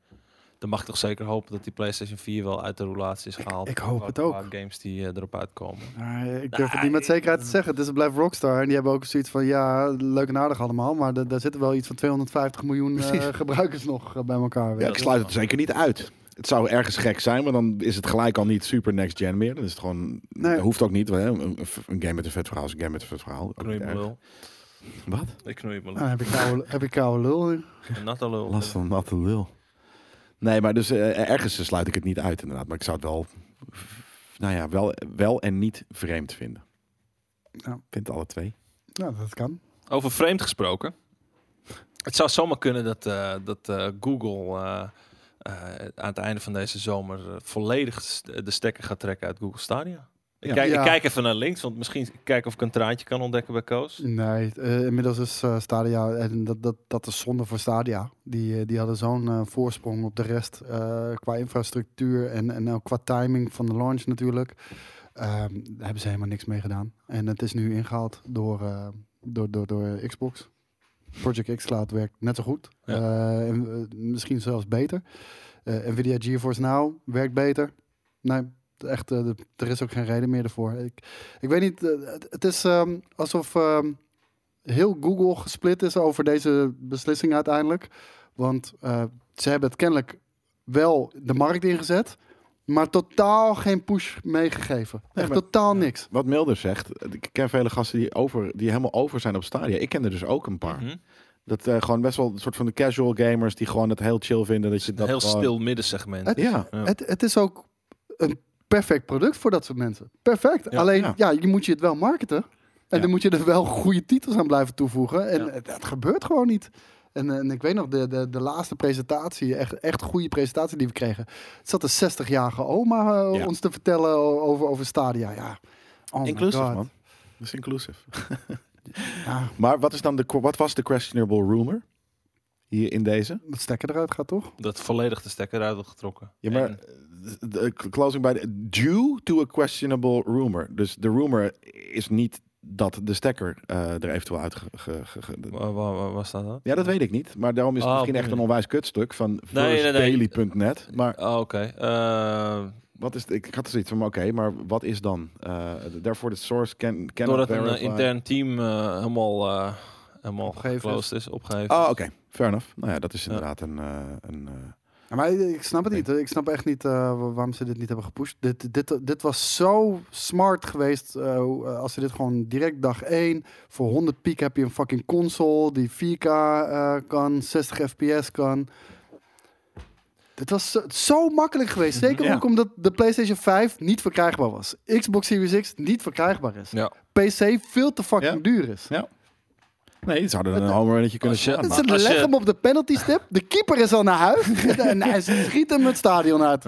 dan mag ik toch zeker hopen dat die PlayStation 4 wel uit de roulatie is gehaald. ik hoop Qua- het ook. qua games die eh, erop uitkomen. Maar ik durf het niet met zekerheid te zeggen. Dus het blijft Rockstar. En die hebben ook zoiets van, ja, leuk en aardig allemaal. Maar da- daar zitten wel iets van 250 miljoen eh, Precies. gebruikers nog eh, bij elkaar. Ja, ik sluit het zeker niet uit. Het zou ergens gek zijn, maar dan is het gelijk al niet super next gen meer. Dan is het gewoon, Nee. dat hoeft ook niet. hè. Een, een- een game met een vet verhaal is een game met een vet verhaal. Ook Knoei niet me erg. lul. Wat? Ik knoei me Nou, lul. heb ik koude, heb ik koude lul nu. Een natte lul. Last van natte lul. Nee, maar dus eh, ergens sluit ik het niet uit inderdaad. Maar ik zou het wel, nou ja, wel, wel en niet vreemd vinden. Ja. Ik vind alle twee. Nou, dat kan. Over vreemd gesproken. Het zou zomaar kunnen dat, eh, dat eh, Google eh, eh, aan het einde van deze zomer eh, volledig s- de stekker gaat trekken uit Google Stadia. Ik, Ja. kijk, Ja. ik kijk even naar links, want misschien kijken of ik een traantje kan ontdekken bij Koos. Nee, eh, inmiddels is eh, Stadia, en dat, dat, dat is zonde voor Stadia. Die, eh, die hadden zo'n eh, voorsprong op de rest eh, qua infrastructuur en, en ook qua timing van de launch natuurlijk. Ehm, daar hebben ze helemaal niks mee gedaan. En het is nu ingehaald door, eh, door, door, door Xbox. Project X Cloud werkt net zo goed. Ja. Eh, en, eh, misschien zelfs beter. Eh, Nvidia GeForce Now werkt beter. Nee, echt, eh, de- er is ook geen reden meer ervoor. Ik, ik weet niet, eh, het- het is ehm, alsof ehm, heel Google gesplit is over deze beslissing uiteindelijk. Want eh, ze hebben het kennelijk wel de markt ingezet, maar totaal geen push meegegeven. Nee, Echt maar- totaal niks. Wat Milder zegt, ik ken vele gasten die, over, die helemaal over zijn op Stadia. Ik ken er dus ook een paar. Mhm. Dat eh, gewoon best wel een soort van de casual gamers die gewoon het heel chill vinden. Dat je Een dat heel gewoon- stil middensegment. Het- Ja, Ja. Het, het is ook een perfect product voor dat soort mensen. Perfect. Ja. Alleen, Ja. ja. je moet je het wel marketen. En Ja. dan moet je er wel goede titels aan blijven toevoegen. En Ja. het, het gebeurt gewoon niet. En, eh, en ik weet nog, de, de, de laatste presentatie, echt, echt goede presentatie die we kregen. Het zat een 60-jarige oma eh, Ja. ons te vertellen o- over, over Stadia. Ja. Oh my inclusive God. man. Dat is inclusive. Ja, Maar wat, is dan de, wat was de questionable rumor hier in deze? dat stekker eruit gaat toch? Dat volledig de stekker uit wordt getrokken. Ja, maar eh, En- de- de closing bij de due to a questionable rumor. Dus de rumor is niet dat de stekker eh, er eventueel uit. ge- ge- ge- ge- Waar, waar- waar- waar staat dat? ja, dat weet ik niet. Maar daarom is het Oh, misschien echt een onwijs kutstuk van nee, nee. firstdaily.net. Maar Oh, oké. Eh, wat is? het- Ik had er zoiets van, maar oké, maar wat is dan? Eh therefore the source can cannot doordat nou, een eh, verify. intern team eh, helemaal, eh helemaal Opgeheven is. geclosed is, opgeheven. Oh, Ah, is. oké. Fair enough. Nou ja, dat is Ja. inderdaad een... eh, een eh, Ja, maar ik snap het niet. Ik snap echt niet eh, wa- waarom ze dit niet hebben gepusht. Dit, dit, dit was zo smart geweest. eh, hoe- eh, als ze dit gewoon direct dag 1... Voor 100 piek heb je een fucking console die 4K eh, kan, 60 fps kan. Dit was zo, zo makkelijk geweest. Zeker Ja. ook omdat de PlayStation 5 niet verkrijgbaar was. Xbox Series X niet verkrijgbaar is. Ja. PC veel te fucking Ja. duur is. Nee, ze hadden een homerunnetje kunnen Als je- slaan. Maar Ze als je- leggen hem op de penalty stip. De keeper is al naar huis. [LAUGHS] en hij schiet hem het stadion uit.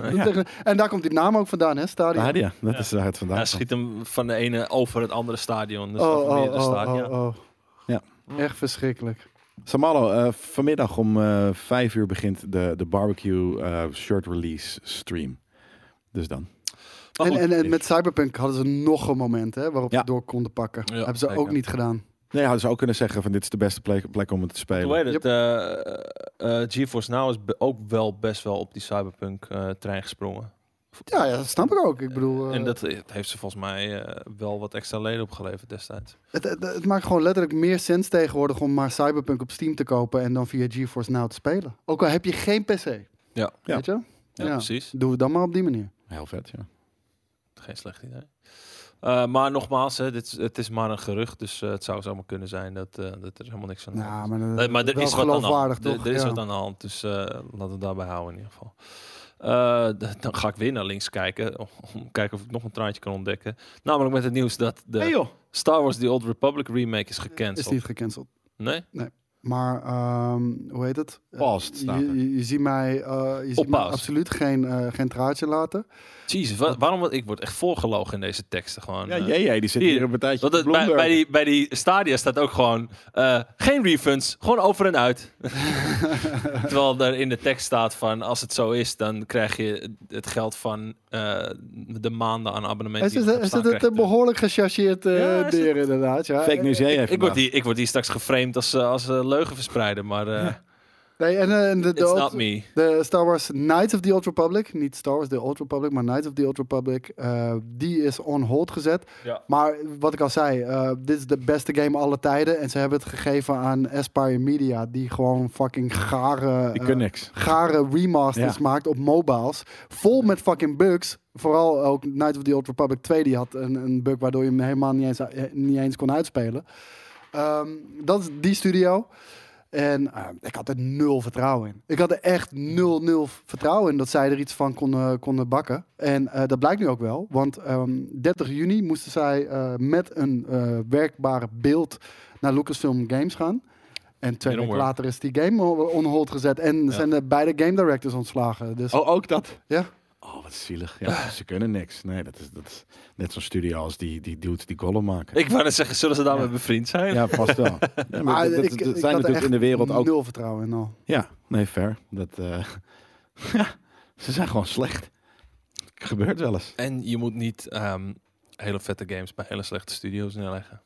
En daar komt die naam ook vandaan, hè? Stadion. Ah, ja, dat is waar het Hij vandaag. schiet hem van de ene over het andere stadion. Dus oh, over oh, meerdere oh, stadia. oh, oh. Ja. Echt verschrikkelijk. Samalo, eh, vanmiddag om eh, vijf uur begint de, de barbecue eh, shirt release stream. Dus dan. Maar En, goed, en, en met Cyberpunk hadden ze nog een moment hè, waarop Ja. ze door konden pakken. Ja, Hebben ze zeker. ook niet gedaan. Nee, hadden ze ook kunnen zeggen van dit is de beste plek, plek om het te hoe spelen. heet het? Eh, eh, GeForce Now is be- ook wel best wel op die Cyberpunk-trein gesprongen. Ja, ja, dat snap ik ook. Ik bedoel, eh, En dat, dat heeft ze volgens mij eh, wel wat extra leden opgeleverd destijds. het, het, het maakt gewoon letterlijk meer sens tegenwoordig om maar Cyberpunk op Steam te kopen en dan via GeForce Now te spelen. Ook al heb je geen PC. Ja. Ja. Weet je? Ja, Ja. precies. Doe het dan maar op die manier. Heel vet, ja. Geen slecht idee. Eh, maar nogmaals, hè, dit, is- het is maar een gerucht, dus eh, het zou zomaar kunnen zijn dat, eh, dat er helemaal niks aan de hand is. Ja, maar, dat- Nee, maar er Nou, wel is, wat aan, de geloofwaardig, hand. Er- toch? er is Ja. wat aan de hand, dus eh, laten we het daarbij houden in ieder geval. Eh, d- dan ga ik weer naar links kijken, om, om kijken of ik nog een traantje kan ontdekken. Namelijk met het nieuws dat de joh. Star Wars The Old Republic remake is gecanceld. Is niet gecanceld. Nee? Maar ehm, hoe heet het? Paused staat je, er. je, je ziet mij, eh, je ziet mij paused. absoluut geen, eh, geen traatje laten. Jezus, wa- waarom? word- Ik word echt voorgelogen in deze teksten gewoon. Ja, eh. jee, jee, die zit Hier. hier een partijtje Want het- te bij, bij, Bloomberg. die, bij die stadia staat ook gewoon eh, geen refunds, gewoon over en uit. [LAUGHS] Terwijl er in de tekst staat van als het zo is, dan krijg je het geld van eh, de maanden aan abonnement. Is, die is, erop is staan, het het krijg je een behoorlijk gechargeerd eh Ja, is dier, inderdaad? Ja. Fake news, jij terug. even. Ik word, hier, ik word hier straks geframed als, eh, als eh, leugenverspreider, maar eh, Nee, en eh, en de, de, It's Old- not me. de Star Wars Knights of the Old Republic, niet Star Wars The Old Republic, maar Knights of the Old Republic, eh, die is on hold gezet. Ja. Maar wat ik al zei, eh, dit is de beste game alle tijden. En ze hebben het gegeven aan Aspire Media, die gewoon fucking gare, Die eh, kunnen niks. gare remasters Ja. maakt op mobiles. Vol met fucking bugs. Vooral ook Knights of the Old Republic 2, die had een, een bug waardoor je hem helemaal niet eens, eh, niet eens kon uitspelen. Ehm, dat is die studio. En eh, ik had er nul vertrouwen in. Ik had er echt nul, nul vertrouwen in dat zij er iets van konden, konden bakken. En eh, dat blijkt nu ook wel. Want ehm, 30 juni moesten zij eh, met een eh, werkbare beeld naar Lucasfilm Games gaan. En twee It'll weken work. later is die game on- on hold gezet. En zijn de beide game directors ontslagen. Dus Oh, ook dat? ja. Oh, wat zielig. Ja, ze kunnen niks. Nee, dat is, dat is net zo'n studio als die, die dudes die golem maken. Ik wou net zeggen, zullen ze daarmee bevriend zijn? Ja, vast wel. [LAUGHS] Ja, maar dat- dat- Ah, ik- dat ik had er zijn natuurlijk echt in de wereld ook. nul vertrouwen in al. Ja, nee, fair. Dat, eh, [LAUGHS] ja, ze zijn gewoon slecht. Gebeurt wel eens. En je moet niet ehm, hele vette games bij hele slechte studio's neerleggen.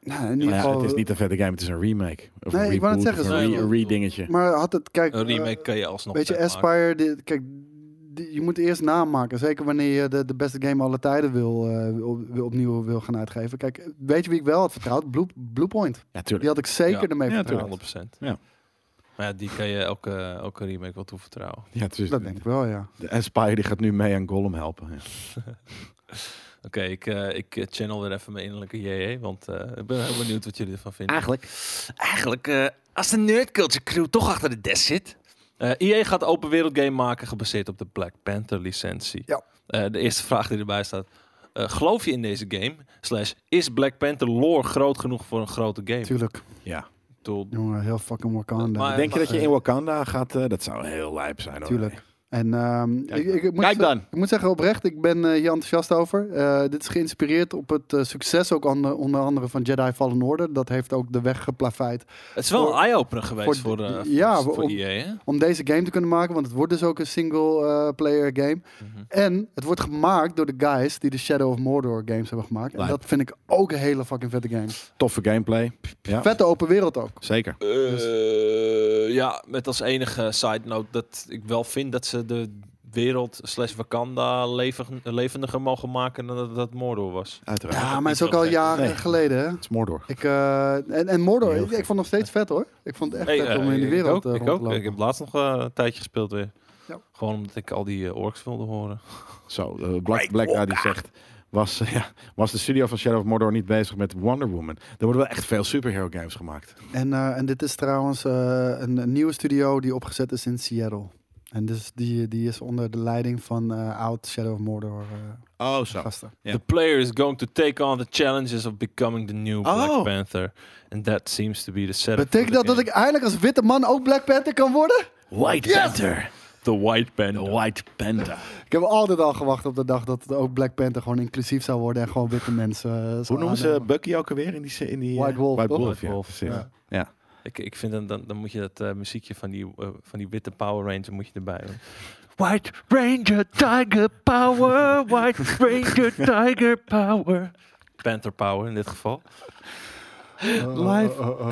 Nou, in Maar ieder ja, geval, het is niet een vette game, het is een remake. Of Nee, een ik wou net reboot, zeggen, of ze- een re- Nee, een re-dingetje. Maar had het, kijk, Een remake eh, kan je alsnog weet je, vet maken. Aspire, die- kijk, die- je moet eerst naam maken. Zeker wanneer je de, de beste game alle tijden wil, eh, wil- wil- opnieuw wil gaan uitgeven. Kijk, weet je wie ik wel had vertrouwd? Blue, Blue Point. Ja, Die tuurlijk. had ik zeker Ja. ermee Ja, vertrouwd. 100%. Ja. Maar ja, die kan je elke, elke remake wel toevertrouwen. Ja, het is, Dat denk ik wel, ja. de Aspire die gaat nu mee aan Golem helpen. Ja. Oké, ik, eh, ik eh, channel weer even mijn innerlijke JJ, want eh, ik ben heel benieuwd wat jullie ervan vinden. Eigenlijk. Ah, Eigenlijk, eh, als de Nerd Culture Crew toch achter de desk zit. Eh EA gaat open wereld game maken gebaseerd op de Black Panther licentie. Ja. Eh, de eerste vraag die erbij staat. eh, geloof je in deze game? Slash, is Black Panther lore groot genoeg voor een grote game? Tuurlijk. Ja. Ik bedoel, Jongen, heel fucking Wakanda. Maar- Denk je dat je in Wakanda gaat? eh, dat zou heel lijp zijn hoor. Tuurlijk. En ehm, ik, ik, ik moet Kijk dan. Ik moet zeggen, oprecht, ik ben eh, hier enthousiast over. Eh, dit is geïnspireerd op het eh, succes ook aan, de- onder andere van Jedi Fallen Order. Dat heeft ook de weg geplaveid het is wel Voor- een eye-opener geweest voor, voor de- eh, voor, ja, voor om- EA, hè? om deze game te kunnen maken. Want het wordt dus ook een single-player game. Mhm. En het wordt gemaakt door de guys die de Shadow of Mordor games hebben gemaakt. En Lijp. dat vind ik ook een hele fucking vette game. Toffe gameplay. Ja, Vette open wereld ook. zeker. Dus- Eh, ja, met als enige side note dat ik wel vind dat ze de wereld slash Wakanda leven- levendiger mogen maken dan dat, dat Mordor was. Uiteraard. dat Ja, maar niet het is ook zo al gek. jaren Nee. geleden. Hè? Het is Mordor. Ik, eh, en, en Mordor, Heel ik, ik gek. vond het nog steeds vet hoor. Ik vond het echt Nee, vet eh, om in de wereld ik ook, eh, ik, rond te ook. lopen. ik heb laatst nog eh, een tijdje gespeeld weer. Ja. Gewoon omdat ik al die eh, orks wilde horen. Zo, eh, Black, Black Daddy zegt... Was, [LAUGHS] eh, ja, was de studio van Shadow of Mordor niet bezig met Wonder Woman? Er worden wel echt veel superhero games gemaakt. En, eh, en dit is trouwens eh, een, een nieuwe studio die opgezet is in Seattle. En dus die, die is onder de leiding van eh oud Shadow of Mordor eh, Oh, zo. gasten. Ja. The player is going to take on the challenges of becoming the new Black Oh. Panther. And that seems to be the setup. for Betekent the dat dat ik game. eindelijk als witte man ook Black Panther kan worden? White Yes! Panther. The White Panther. White Panther. Ik heb altijd al gewacht op de dag dat het ook Black Panther gewoon inclusief zou worden en gewoon witte mensen. eh, Hoe zou noemen ze aannemen. Bucky ook alweer in die... se- In die eh, White Wolf, White toch? Wolf, White ja, Wolf, precies. ja. Ja. Ik, ik vind dan, dan, dan moet je dat eh, muziekje van die, eh, van die witte Power Ranger moet je erbij doen. White Ranger Tiger Power, White Ranger Tiger Power. Panther Power in dit geval. Live. Oh,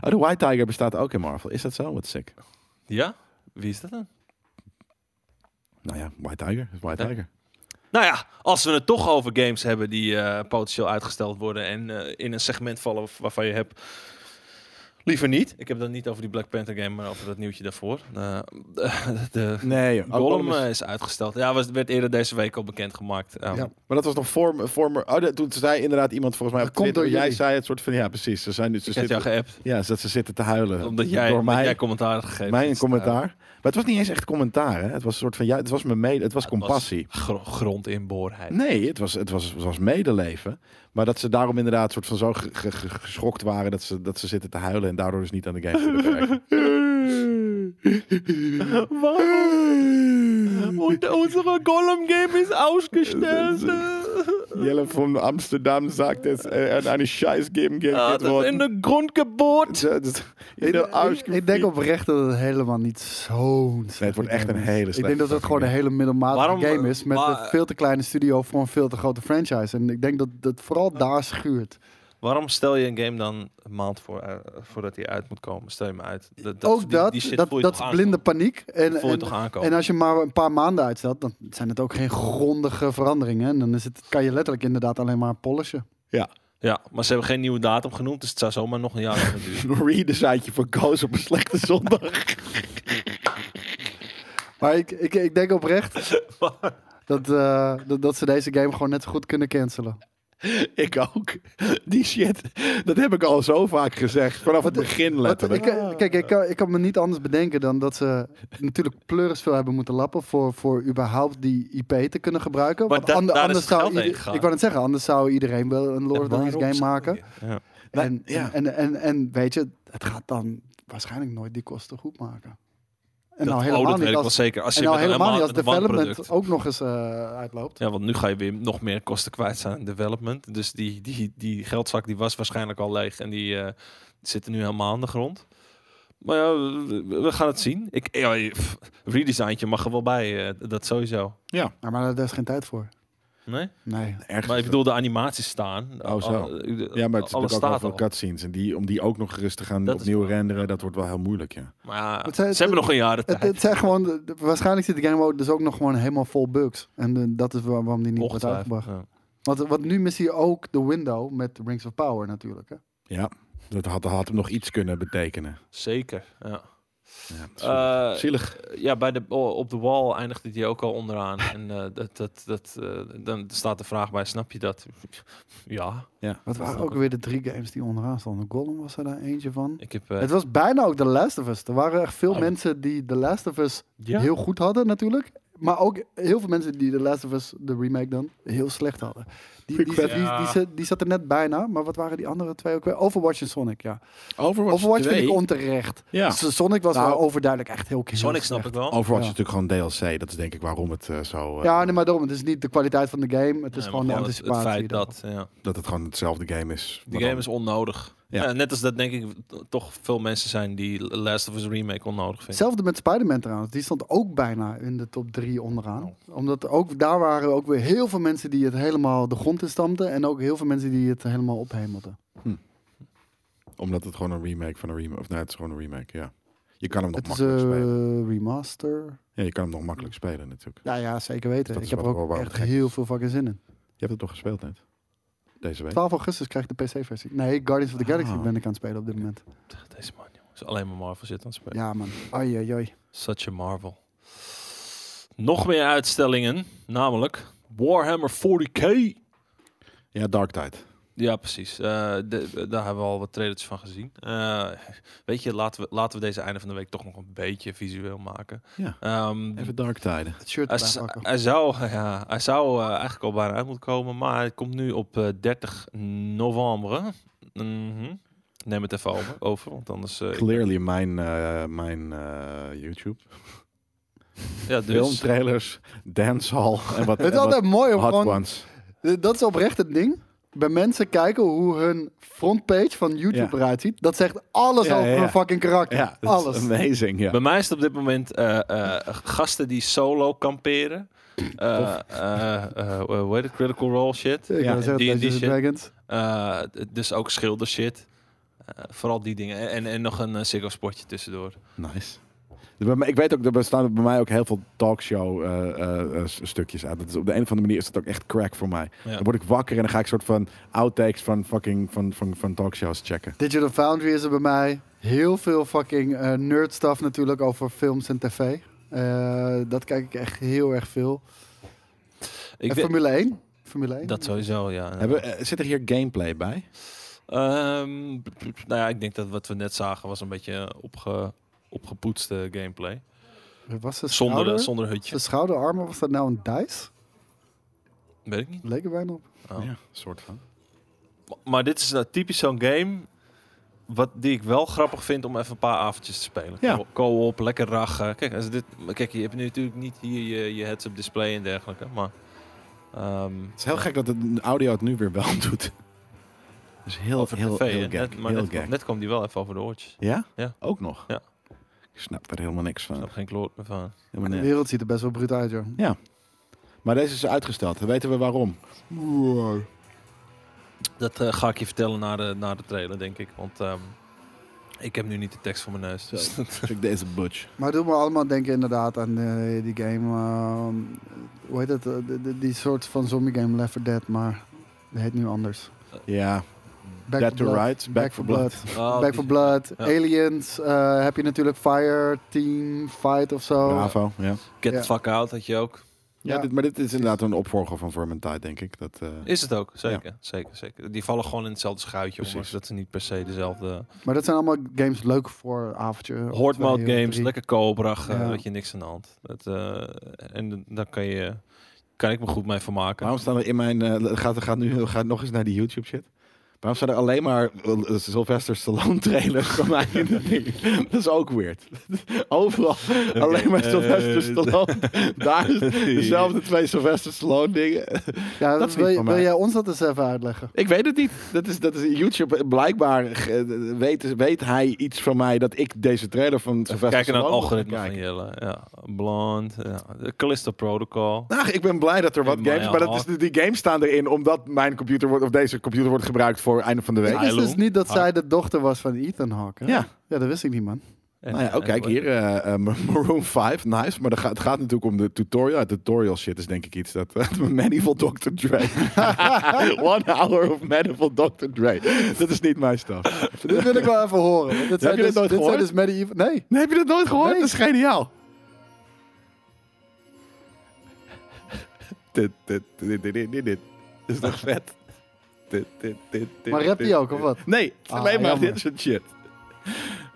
de White Tiger bestaat ook in Marvel. Is dat zo? Wat sick. Ja? Wie is dat dan? Nou ja, White Tiger. is White Ja. Tiger. Nou ja, als we het toch over games hebben die eh, potentieel uitgesteld worden en eh, in een segment vallen waarvan je hebt. Liever niet. Ik heb het niet over die Black Panther game, maar over dat nieuwtje daarvoor. Eh, de- de Nee, joh. Oh, Gollum is- eh, is uitgesteld. Ja, was, werd eerder deze week al bekendgemaakt. gemaakt. Ja. Maar dat was nog voor, voor me. Oh, dat- toen zei inderdaad iemand volgens mij op Dat komt Twitter, door jij jullie. zei het soort van ja, precies. Ze zijn nu Dus ze Ik heb zitten, jou geappt, ja, ze, ze zitten te huilen omdat jij, door omdat mij, jij commentaar had gegeven. eh, mijn commentaar. Maar het was niet eens echt commentaar, hè? Het was een soort van ja, het was me mede, het was Het was- compassie. Gro- grondinboorheid. [LAUGHS] Nee, het was, het, was, het was medeleven. Maar dat ze daarom inderdaad soort van zo ge- ge- ge- geschokt waren dat ze, dat ze zitten te huilen en daardoor dus niet aan de game kunnen werken. Unsere Gollum-game [LAUGHS] is ausgesteld. [LAUGHS] Jelle van Amsterdam sagt, dass äh, eine Scheiß geben geht de grondgeboord. Ik, ik, ik denk oprecht dat het helemaal niet zo'n. Nee, het wordt echt een hele Ik slechte denk dat het gewoon een fucking hele middelmatige Waarom, game is met maar- een veel te kleine studio voor een veel te grote franchise. En ik denk dat dat vooral daar schuurt. Waarom stel je een game dan een maand voor, eh, voordat die uit moet komen? Stel je me uit. Dat, ook die- dat, die shit dat, voel je dat toch is aankomen? blinde paniek. En, Dat voel je en, toch aankomen? en als je maar een paar maanden uitstelt, dan zijn het ook geen grondige veranderingen. En dan is het, kan je letterlijk inderdaad alleen maar polishen. Ja, maar ze hebben geen nieuwe datum genoemd, dus het zou zomaar nog een jaar kunnen duren. Een redesigntje van Koos op een slechte zondag. [LAUGHS] Maar ik, ik, ik denk oprecht [LAUGHS] dat, eh, dat, dat ze deze game gewoon net zo goed kunnen cancelen. ik ook. Die shit, dat heb ik al zo vaak gezegd. Vanaf het begin Want ik, letterlijk. eh, kijk, ik kan, ik kan me niet anders bedenken dan dat ze natuurlijk pleuris veel hebben moeten lappen voor, voor überhaupt die IP te kunnen gebruiken. Maar da- daar ander- is anders het zou geld heen ieder- gegaan. ik wou net zeggen, anders zou iedereen wel een Lord of the Rings Waarom game zou maken. je? Ja. Nou, En, ja. en, en, en weet je, het gaat dan waarschijnlijk nooit die kosten goed maken. En Dat- nou oh, helemaal dat weet niet ik wel als, zeker. Als en je nou met een helemaal niet als helemaal- met een development wandproduct- ook nog eens eh, uitloopt. Ja, want nu ga je weer nog meer kosten kwijt zijn aan development. Dus die, die, die geldzak die was waarschijnlijk al leeg en die eh, zitten nu helemaal aan de grond. Maar ja, we, we- we gaan het zien. Ik, ja, je- pff, redesignje mag er wel bij, eh, dat sowieso. Ja, maar daar is geen tijd voor. Nee? Nee. Ergens- Maar ik bedoel, de animaties staan. Oh, zo. Al- eh, ja, maar het is alles natuurlijk ook staat wel al. veel cutscenes. En die, om die ook nog eens te gaan Dat is opnieuw waar. renderen, dat wordt wel heel moeilijk, ja. Maar ja, Het ze zijn- hebben nog een jaar de Het, tijd. het zijn gewoon, de- de- waarschijnlijk zit de game ook- dus ook nog gewoon helemaal vol bugs. En eh, dat is waar- waarom die niet wordt Ongetwijfeld, uitgebracht. ja. Want, want nu mis je ook de window met Rings of Power natuurlijk. Hè? Ja, dat had, had hem nog iets kunnen betekenen. Zeker, ja. Ja, het is Eh, zielig. ja, bij de, oh, op de wall eindigde die ook al [LAUGHS] onderaan. En eh, dat, dat, dat, eh, dan staat de vraag bij, snap je dat? [LAUGHS] ja, Wat waren snap ook weer de drie games die onderaan stonden. Golem was er daar eentje van. ik heb... eh, Het was bijna ook The Last of Us. Er waren echt veel Oh. mensen die The Last of Us ja. heel goed hadden natuurlijk. Maar ook heel veel mensen die The Last of Us, de remake dan, heel slecht hadden. Die, die, die, Quick die, die, zat- die zat er net bijna, maar wat waren die andere twee ook weer? Overwatch en Sonic, ja. Overwatch, Overwatch 2, vind ik onterecht. ja. S- Sonic was Nou, wel overduidelijk echt heel heel Sonic snap ik slecht. wel. Overwatch Ja. is natuurlijk gewoon DLC. Dat is denk ik waarom het eh, zo... eh, Ja, nee, maar daarom. Het is niet de kwaliteit van de game, het Nee, is gewoon de maar het- anticipatie. Het, feit daarop. dat, ja. Dat het gewoon hetzelfde game is. Die Maar dan- game is onnodig. Ja. Ja. net als dat denk ik t- toch veel mensen zijn die Last of Us Remake onnodig vinden. Hetzelfde met Spider-Man trouwens. Die stond ook bijna in de top 3 onderaan. Oh. Omdat ook daar waren ook weer heel veel mensen die het helemaal de grond in stampten. En ook heel veel mensen die het helemaal ophemelden. Omdat het gewoon een remake van een remake... Of nee, het is gewoon een remake, ja. Je kan hem nog Het is eh, makkelijk spelen. een remaster. Ja, je kan hem nog makkelijk spelen natuurlijk. Ja, ja, zeker weten. Dat ik is heb er wel ook waar het echt gek heel is. veel fucking zin in. Je hebt het toch gespeeld net? Deze week? 12 augustus krijgt de PC-versie. Nee, Guardians of the Galaxy Ah. ben ik aan het spelen op dit moment. Deze man, jongens. alleen maar Marvel zit aan het spelen. Ja, man. Ai, ai, ai. Such a Marvel. Nog meer uitstellingen, namelijk Warhammer 40k. Ja, Dark Tide. Ja, precies. Eh, de- daar hebben we al wat trailers van gezien. Eh, weet je, laten we, laten we deze einde van de week toch nog een beetje visueel maken. Ja. Ehm, Even Dark Tide. Het shirt Hij, erbij z- pakken. hij zou, [LAUGHS] ja, hij zou eh, eigenlijk al bijna uit moeten komen, maar hij komt nu op eh, 30 november. Mhm. Neem het even over, over want anders... eh, Clearly mijn, eh, mijn eh, YouTube. ja, dus, Filmtrailers, dancehall en [LAUGHS] wat, Het en is wat altijd mooi om hot gewoon ones. D- Eh, Dat is oprecht het ding. Bij mensen kijken hoe hun frontpage van YouTube Ja. eruit ziet. Dat zegt alles Ja, over ja, ja. hun fucking karakter. Ja, dat alles. is amazing. Ja. bij mij is het op dit moment eh, eh, gasten die solo kamperen. Eh, eh, eh, hoe heet het? Critical Role shit. Ik Ja, wou zeggen, die- Dungeons die and shit. Dragons. Eh, d- dus ook schilder shit. Eh, vooral die dingen. En, en nog een uh, Ziggo spotje tussendoor. Nice. Bij mij- Ik weet ook, er bestaan bij mij ook heel veel talkshow eh, eh, eh, s- stukjes uit. Dat is, op de een of andere manier is dat ook echt crack voor mij. Ja. Dan word ik wakker en dan ga ik soort van outtakes van fucking van, van, van talkshows checken. Digital Foundry is er bij mij. Heel veel fucking eh, nerd stuff natuurlijk over films en tv. Eh, dat kijk ik echt heel erg veel. Ik en weet- Formule 1. Formule 1. dat sowieso, ja. Hebben, eh, zit er hier gameplay bij? Ehm, p- p- nou ja, ik denk dat wat we net zagen was een beetje opge, opgepoetste gameplay. was de schouder? Zonder, zonder Zijn hutje. schouderarmen, was dat nou een dice? Weet ik niet. Leek er bijna op. Oh. Ja, soort van. M- Maar dit is nou typisch zo'n game wat, die ik wel grappig vind om even een paar avondjes te spelen. Ja. Co- Co-op, lekker rachen. Kijk, als dit, maar kijk, je hebt nu natuurlijk niet hier je, je heads-up display en dergelijke, maar... ehm, Het is heel gek dat het de audio het nu weer wel [LAUGHS] doet. Dat is heel, over heel, tv, heel en gek. net, maar heel net, gek. net kwam die wel even over de oortjes. Ja? Ja. Ook nog? Ja. Ik snap er helemaal niks Ik van. heb geen kloot meer van. Helemaal De niks. wereld ziet er best wel bruut uit, joh. Maar deze is uitgesteld. Dan weten we waarom. Dat eh, ga ik je vertellen na de, na de trailer, denk ik. Want ehm, ik heb nu niet de tekst voor mijn neus. Dus [LAUGHS] Zo. Check deze butch. Maar het doet me allemaal denken inderdaad aan eh, die game. eh, hoe heet het? Eh, de- de- die soort van zombie game Left 4 Dead, maar die heet nu anders. Ja, Back Dead for to Blood. Rights, Back, for Blood. oh, Back die- for Blood, Ja. Aliens, eh, heb je natuurlijk Fire Team Fight of zo. Bravo, ja. Get Ja. the fuck out had je ook. Oh. Ja, Ja. Dit, maar dit is inderdaad een opvolger van Vermintide, denk ik. Dat, eh, Is het ook, zeker. zeker, zeker. Die vallen gewoon in hetzelfde schuitje, Precies. ondanks dat ze niet per se dezelfde... Maar dat zijn allemaal games leuk voor een avondje. of Horde twee mode of games, drie. lekker koopbrag, Ja. weet je, niks aan de hand. Dat, eh, en daar kan, je, kan ik me goed mee vermaken. waarom staan er in mijn... eh, gaat, gaat nu gaat nog eens naar die YouTube shit. Waarom staan er alleen maar eh, Sylvester Stallone trailers van mij in dat ding? [LAUGHS] Dat is ook weird. [LAUGHS] Overal alleen maar eh, Sylvester eh, Stallone. Daar is dezelfde twee Sylvester Stallone dingen. Ja, Dat is wil, niet van wil mij. jij ons dat eens even uitleggen? Ik weet het niet. Dat is, dat is YouTube. Blijkbaar eh, weet, weet hij iets van mij dat ik deze trailer van Sylvester Kijken naar het Stallone algoritme ga van kijken. Jelle. Ja. Blond, ja. Callisto Protocol. Nou, ik ben blij dat er wat En games, Maya maar dat is, die games staan erin omdat mijn computer wordt, of deze computer wordt gebruikt voor einde van de week. Ik wist Hylum. dus niet dat Hylum. zij de dochter was van Ethan Hawke. hè? Ja. Ja, dat wist ik niet, [LAUGHS] man. En- nou ja, ook en- kijk hier, eh, [LAUGHS] eh, Maroon 5, nice. Maar dat gaat, het gaat natuurlijk om de tutorial. Het tutorial shit is denk ik iets dat... eh, [LAUGHS] medieval Dr. Dre. [LAUGHS] One hour of Medieval Dr. Dre. Dat is niet mijn stuff. [LAUGHS] dit wil ik wel even horen. want Dit zijn je dit dus, nooit dit zijn gehoord? dus medieval... Nee. Nee, heb je dat nooit gehoord? Nee. Dat is geniaal. Dit, dit, dit, dit, dit, dit, dit. Dat is [LAUGHS] toch vet? Dit, dit, dit, dit, Maar rapt dit, hij ook, dit. of wat? Nee, het is Ah, alleen maar jammer. dit soort shit.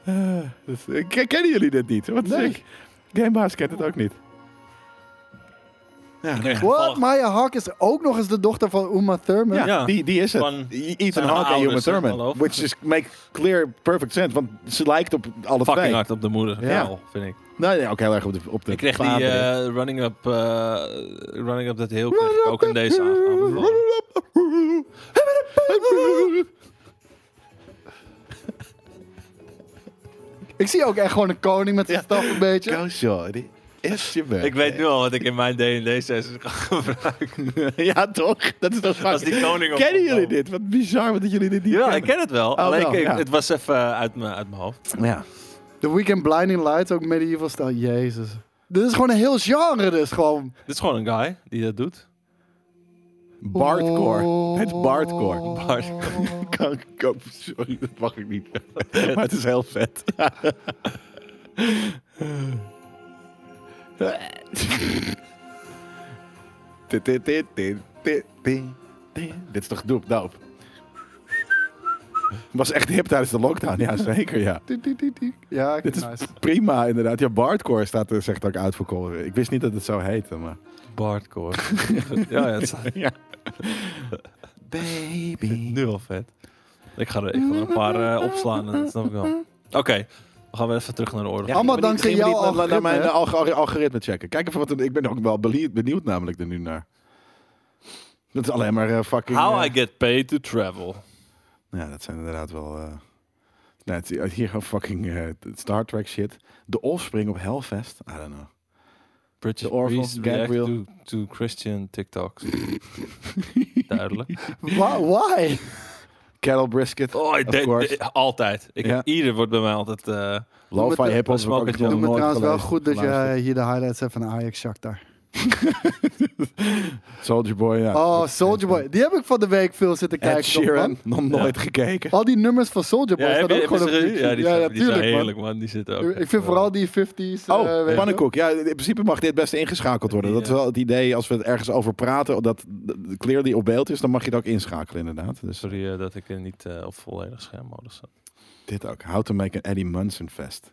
Eh, dus, eh, ken- kennen jullie dit niet? Wat Nee. sick. Gamebaas kent het ook niet. Ja, Ik kreeg What? toevallig- Maya Hawke is ook nog eens de dochter van Uma Thurman? ja, Ja. Die, die is het. Van- Ethan haar Hawke en Uma ouders, hè, Thurman. geloof ik. Which is make clear perfect sense. Want ze lijkt op alle Fucking twee. hard op de moeder. Ja. Ja, vind ik. Nee, nee, ook heel erg op de, op de Ik kreeg die vader. eh, running up, eh, running up dat heel kreeg ik ook in deze aan- aanbevolen. Ik zie ook echt gewoon een koning met zijn staf een beetje. Go, shorty. Is je werk. Ik weet nu al wat ik in mijn D&D sessies ga gebruiken. [LAUGHS] ja, toch? Dat is toch vaak. Als die koning op- Kennen jullie dit? Wat bizar dat jullie dit niet [LAUGHS] Ja, ik kennen. ken het wel. Alleen Oh, wel, ik- ja. het was even uit mijn uit mijn hoofd. Ja. The Weekend Blinding Lights, ook medieval stijl. Jezus. Dit is gewoon een heel genre dus, gewoon. Dit is gewoon een guy die dat doet. Bardcore. Oh. Het is Bardcore. Bart. [LAUGHS] Oh. Kan ik ook- Sorry, dat mag ik niet. [LAUGHS] maar het is heel vet. Dit, dit, dit, dit, dit, dit, dit. Dit is toch doop, doop. Was echt hip tijdens de lockdown, ja zeker, ja. Tiek, tiek, tiek, tiek. Ja, ik Dit is nice. prima, inderdaad. Ja, Bardcore staat er, zegt ook uitverkoren. Ik wist niet dat het zo heette, maar... [LAUGHS] Bardcore. [LAUGHS] ja, ja, het is Ja. [LAUGHS] Baby. nu al vet. Ik ga er, ik ga er een paar eh, opslaan, dat snap ik wel. Oké, we gaan weer even terug naar de orde. Ja, Allemaal maar die- dankzij gingen we jouw niet naar- Naar algoritme, mijn hè? alg- algoritme checken. Kijk even wat... er- Ik ben ook wel benieuwd, benieuwd namelijk er nu naar. Dat is alleen maar eh, fucking... How eh, I get paid to travel. Ja, dat zijn inderdaad wel... eh nee, het, is hier gewoon fucking eh, Star Trek shit. De Offspring op Hellfest. I don't know. British De Orville, priests react Gabriel. To, to Christian [LAUGHS] TikToks. Duidelijk. Wa- Why? Cattle Brisket. Oh, ik Of denk- course. altijd. Ik, Ja. Ieder wordt bij mij altijd... eh, Lo-fi Doe hiphop. met- heb ik ook Doe nog Doe me nooit trouwens wel gelezen, goed dat geluisterd. je eh, hier de highlights hebt van Ajax Shakhtar. Soldier Boy, ja. Oh, Soldier Boy. Die heb ik van de week veel zitten eh, Ed kijken. toch, Sheeran. man? Nog nooit gekeken. Al die nummers van Soldier Boy ja, heb staan je- ook heb je gewoon op ze gezien? YouTube. Ja, die, zijn, die zijn tuurlijk, man. heerlijk, man. Die zitten ook. eh, Ik vind vooral die 50s. eh, Oh, weet je. pannenkoek. Ja, in principe mag dit best ingeschakeld worden. Dat is wel het idee als we het ergens over praten, dat de kleur die op beeld is, dan mag je het ook inschakelen inderdaad. Dus Sorry eh, dat ik er niet eh, op volledig schermmodus zat. dit ook. How to make an Eddie Munson fest.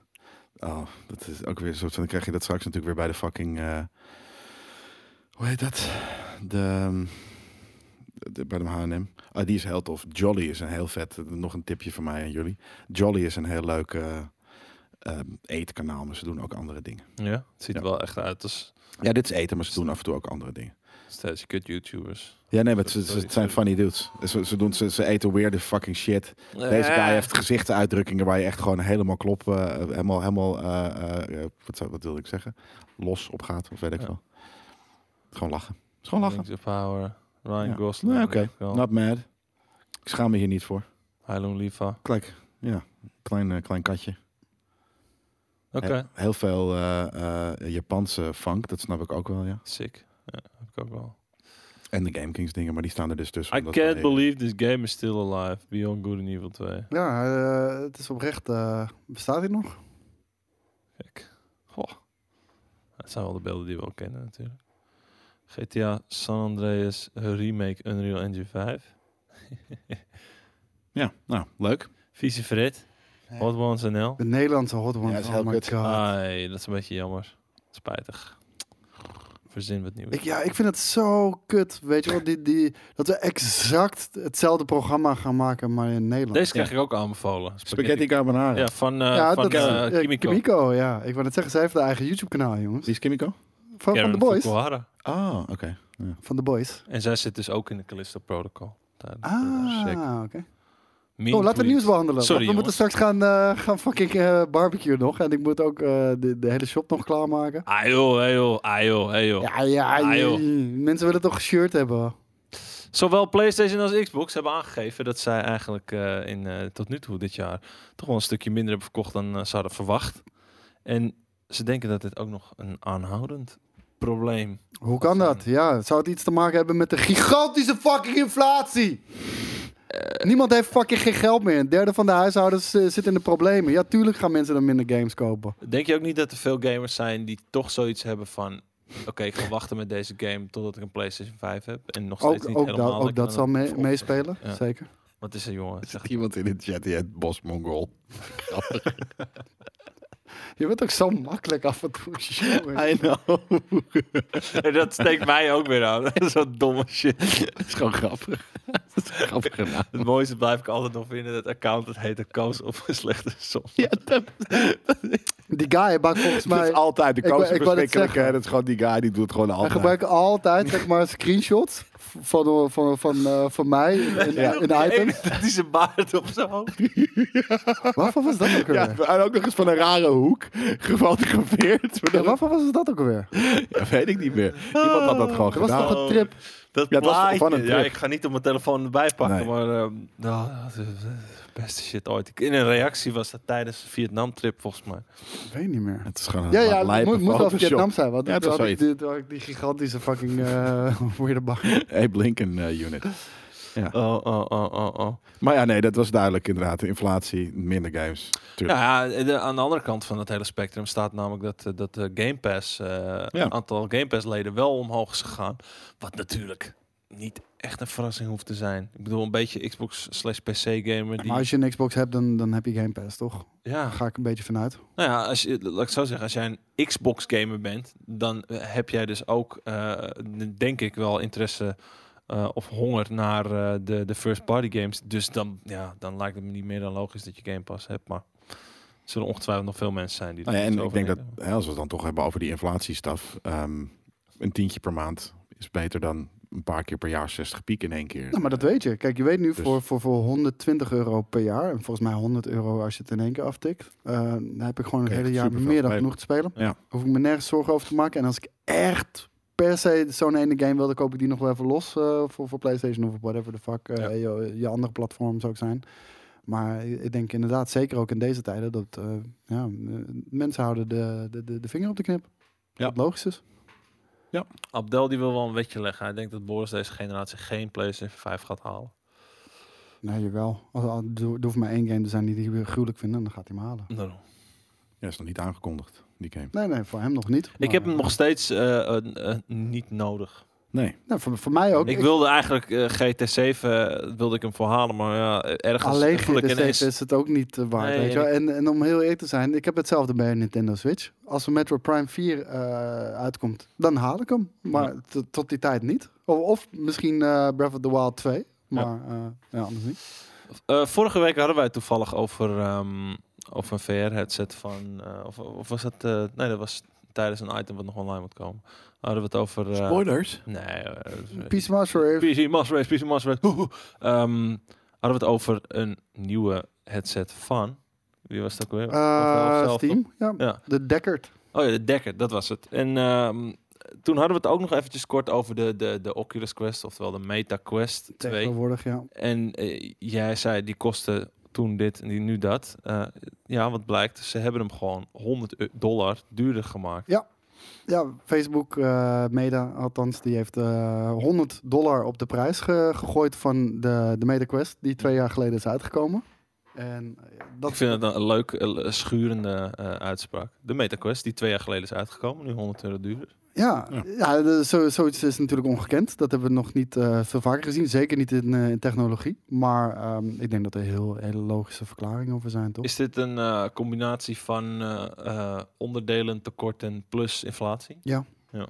Oh, dat is ook weer zo. Dan krijg je dat straks natuurlijk weer bij de fucking... eh, hoe heet dat? De... ehm, de- bij de H&M. Ah, die is heel tof. Jolly is een heel vet... eh, Nog een tipje van mij aan jullie. Jolly is een heel leuk eh, ehm, eetkanaal, maar ze doen ook andere dingen. Ja, het ziet Ja. er wel echt uit als Ja, dit is eten, maar ze doen af en toe ook andere dingen. steeds kut YouTubers. Ja, nee, maar het, ze- het zijn funny dudes. Ze, ze, doen, ze, ze eten weirde fucking shit. Deze Eh, guy heeft gezichtsuitdrukkingen waar je echt gewoon helemaal klop, eh, helemaal, helemaal, eh, eh, eh, wat, zou- wat wilde ik zeggen? Los op gaat, of weet ik Ja. wel. Gewoon lachen. Het is gewoon lachen. Rings of Power, Ryan Ja. Gosling. Nee, Oké, Wel. not mad. Ik schaam me hier niet voor. Heilung Liva. Kijk, ja, klein, eh, klein katje. Oké, He- heel veel eh, eh, Japanse funk, dat snap ik ook wel, ja. sick. Ja, heb ik ook wel. En de Game Kings dingen, maar die staan er dus tussen. I omdat we can't de- believe this game is still alive. Beyond Good and Evil 2. Ja, eh, het is oprecht. eh, bestaat dit nog? Kijk. Goh. Dat zijn wel de beelden die we al kennen natuurlijk. GTA San Andreas Remake Unreal Engine 5. Ja, nou, leuk. Vieze Fred. Ja. Hot Ones NL. De Nederlandse Hot Ones. Ja, is heel oh my kut. god. Ai, dat is een beetje jammer. Spijtig. Verzin wat nieuws. Ik, ja, ik vind het zo kut. Weet je wel, die, die, dat we exact hetzelfde programma gaan maken, maar in Nederland. Deze krijg ik ook aanbevolen. Spaghetti carbonara. Ja, van, eh ja, van dat is eh, eh, Kimiko. Kimiko, ja. Ik wou net zeggen, zij heeft haar eigen YouTube-kanaal, jongens. Wie is Kimiko? Van, van Karen de boys. Fukuhara. Ah, oké. Van de boys. En zij zit dus ook in de Callisto Protocol. Ah, sick. oké. Mean Oh, laten we het tweets. nieuws behandelen. Sorry, we moeten straks gaan, eh, gaan fucking eh barbecue nog. En ik moet ook eh, de, de hele shop nog klaarmaken. Ah joh, hey joh, ah joh, hey joh. Ja, ja, Ah, ja. joh. Mensen willen toch een shirt hebben. Zowel PlayStation als Xbox hebben aangegeven dat zij eigenlijk eh, in, eh, tot nu toe dit jaar toch wel een stukje minder hebben verkocht dan eh, ze hadden verwacht. En ze denken dat dit ook nog een aanhoudend probleem. Hoe kan dat? Ja, zou het iets te maken hebben met de gigantische fucking inflatie? Niemand heeft fucking geen geld meer. Een derde van de huishoudens eh, zit in de problemen. Ja, tuurlijk gaan mensen dan minder games kopen. Denk je ook niet dat er veel gamers zijn die toch zoiets hebben van. Oké, ik ga wachten met deze game totdat ik een PlayStation 5 heb. En nog steeds Ook, niet ook, helemaal. dat, ook lekker dat zal aan het mee- volgen. meespelen, Ja. zeker. Wat is er, jongen? [LAUGHS] Zeg, iemand in de chat die het Bos Mongol. Je bent ook zo makkelijk af en toe. [LAUGHS] jongen. [LAUGHS] I [LAUGHS] know. dat steekt mij ook weer aan. [LAUGHS] Zo'n domme shit. dat is gewoon grappig. [LAUGHS] dat is een grappige [LAUGHS] naam. Het mooiste blijf ik altijd nog vinden. Dat account, dat heet de koos op een slechte som. Die guy maakt volgens [LAUGHS] Dat mij... is altijd de Ik wou- koos ik wou net verschrikkelijke. zeggen. Dat is gewoon die guy, die doet het gewoon Wij altijd. gebruiken altijd zeg maar, screenshots van, van, van, eh, van mij in, En in ook [LAUGHS] die items. ene Die zijn baard op zijn hoofd. Waarvan was dat ook Ja, alweer? en ook nog eens van een rare hoek. Gefotografeerd. Maar Ja, dat- waarvan was dat ook alweer? [LAUGHS] Ja, weet ik niet meer. Iemand had dat gewoon Er was gedaan. nog een trip. Dat Ja, het was plaatje. van een ja, trip. ik ga niet op mijn telefoon erbij pakken, Nee. maar ehm, nou, dat is de beste shit ooit. Ik- In een reactie was dat tijdens de Vietnam-trip volgens mij. Ik weet niet meer. Het is gewoon een Ja, ja, het lijpe moet, moet wel Photoshop. Vietnam zijn. Want Ja, het toen was had ik die, toen had ik die gigantische fucking [LAUGHS] uh, weirde bak. Abe Lincoln eh, unit. Oh, oh, oh, oh, oh. Maar ja, nee, dat was duidelijk inderdaad. Inflatie, minder games. Tuurlijk. Ja, Nou ja, de- aan de andere kant van het hele spectrum staat namelijk dat, eh, dat de Game Pass, eh, Ja. aantal Game Pass leden wel omhoog is gegaan. Wat natuurlijk niet echt een verrassing hoeft te zijn. Ik bedoel, een beetje Xbox slash PC gamer. Die, Maar als je een Xbox hebt, dan, dan heb je Game Pass, toch? ja, Daar ga ik een beetje vanuit. Nou ja, als je, laat ik zo zeggen, als jij een Xbox gamer bent, dan eh, heb jij dus ook, eh, denk ik wel, interesse eh, of honger naar eh, de, de first party games. Dus dan, ja, dan lijkt het me niet meer dan logisch dat je Game Pass hebt. Maar er zullen ongetwijfeld nog veel mensen zijn die Nou ja, er en zo ik over denk dat, denken. hè, als we het dan toch hebben over die inflatiestaf, ehm, een tientje per maand is beter dan een paar keer per jaar 60 piek in één keer. Nou, maar dat weet je. Kijk, je weet nu Dus- voor, voor, voor 120 euro per jaar, en volgens mij 100 euro als je het in één keer aftikt, eh, dan heb ik gewoon het Kijk, hele jaar superveel meer dan spelen. genoeg te spelen. Ja. Hoef ik me nergens zorgen over te maken. En als ik echt per se zo'n ene game wil, dan koop ik die nog wel even los eh, voor, voor PlayStation of whatever the fuck. eh, Ja. je, je andere platform zou ik zijn. Maar ik denk inderdaad, zeker ook in deze tijden, dat eh, ja, eh, mensen houden de, de, de, de vinger op de knip. Ja. Dat logisch is. Abdel die wil wel een wetje leggen. Hij denkt dat Boris deze generatie geen PlayStation 5 gaat halen. Nee, jawel. Als, als, er hoeft maar één game te zijn die die gruwelijk vinden, dan gaat hij hem halen. Daarom. Ja, is nog niet aangekondigd, die game. Nee, nee, voor hem nog niet. Ik Maar, heb hem eh, nog steeds eh, eh, eh, niet nodig. Nee, Nou, voor, voor mij ook. Ik wilde eigenlijk eh, GT7 eh, wilde ik hem voor halen, maar ja, ergens alleen voel ik GT7 ineens- is het ook niet eh, waard. Nee, weet je en wel. en, en om heel eerlijk te zijn, ik heb hetzelfde bij een Nintendo Switch. Als een Metro Prime 4 eh, uitkomt, dan haal ik hem. Maar t- tot die tijd niet. Of, of misschien eh, Breath of the Wild 2. Maar eh, ja, anders niet. Eh, vorige week hadden wij het toevallig over, ehm, over een VR-headset van, eh, of, of was dat, eh, nee, dat was tijdens een item wat nog online moet komen. Hadden we het over... eh, spoilers. Nee. eh, Peace Master Race. PC Master Race, PC Master Race. Hoehoe. Ehm, hadden we het over een nieuwe headset van, wie was dat ook weer? eh, Valve zelf, toch? Steam. Ja. Ja. De Deckard. Oh ja, de Dekker, dat was het. En ehm, toen hadden we het ook nog eventjes kort over de, de, de Oculus Quest, oftewel de Meta Quest 2. Tegenwoordig, ja. En eh, jij zei, die kosten toen dit en die nu dat. Eh, ja, wat blijkt, ze hebben hem gewoon 100 eu- dollar duurder gemaakt. Ja, Facebook eh Meta, althans, die heeft eh 100 dollar op de prijs ge- gegooid van de, de Meta Quest, die twee jaar geleden is uitgekomen. En eh, dat Ik vind het een leuk, eh, schurende eh, uitspraak. De Meta Quest, die twee jaar geleden is uitgekomen, nu 100 euro duurder. Ja, Ja. ja. de- zo, zoiets is natuurlijk ongekend. Dat hebben we nog niet eh, veel vaker gezien. Zeker niet in, eh, in technologie. Maar ehm, ik denk dat er heel hele logische verklaringen over zijn, toch? Is dit een eh, combinatie van eh, eh, onderdelen tekorten plus inflatie?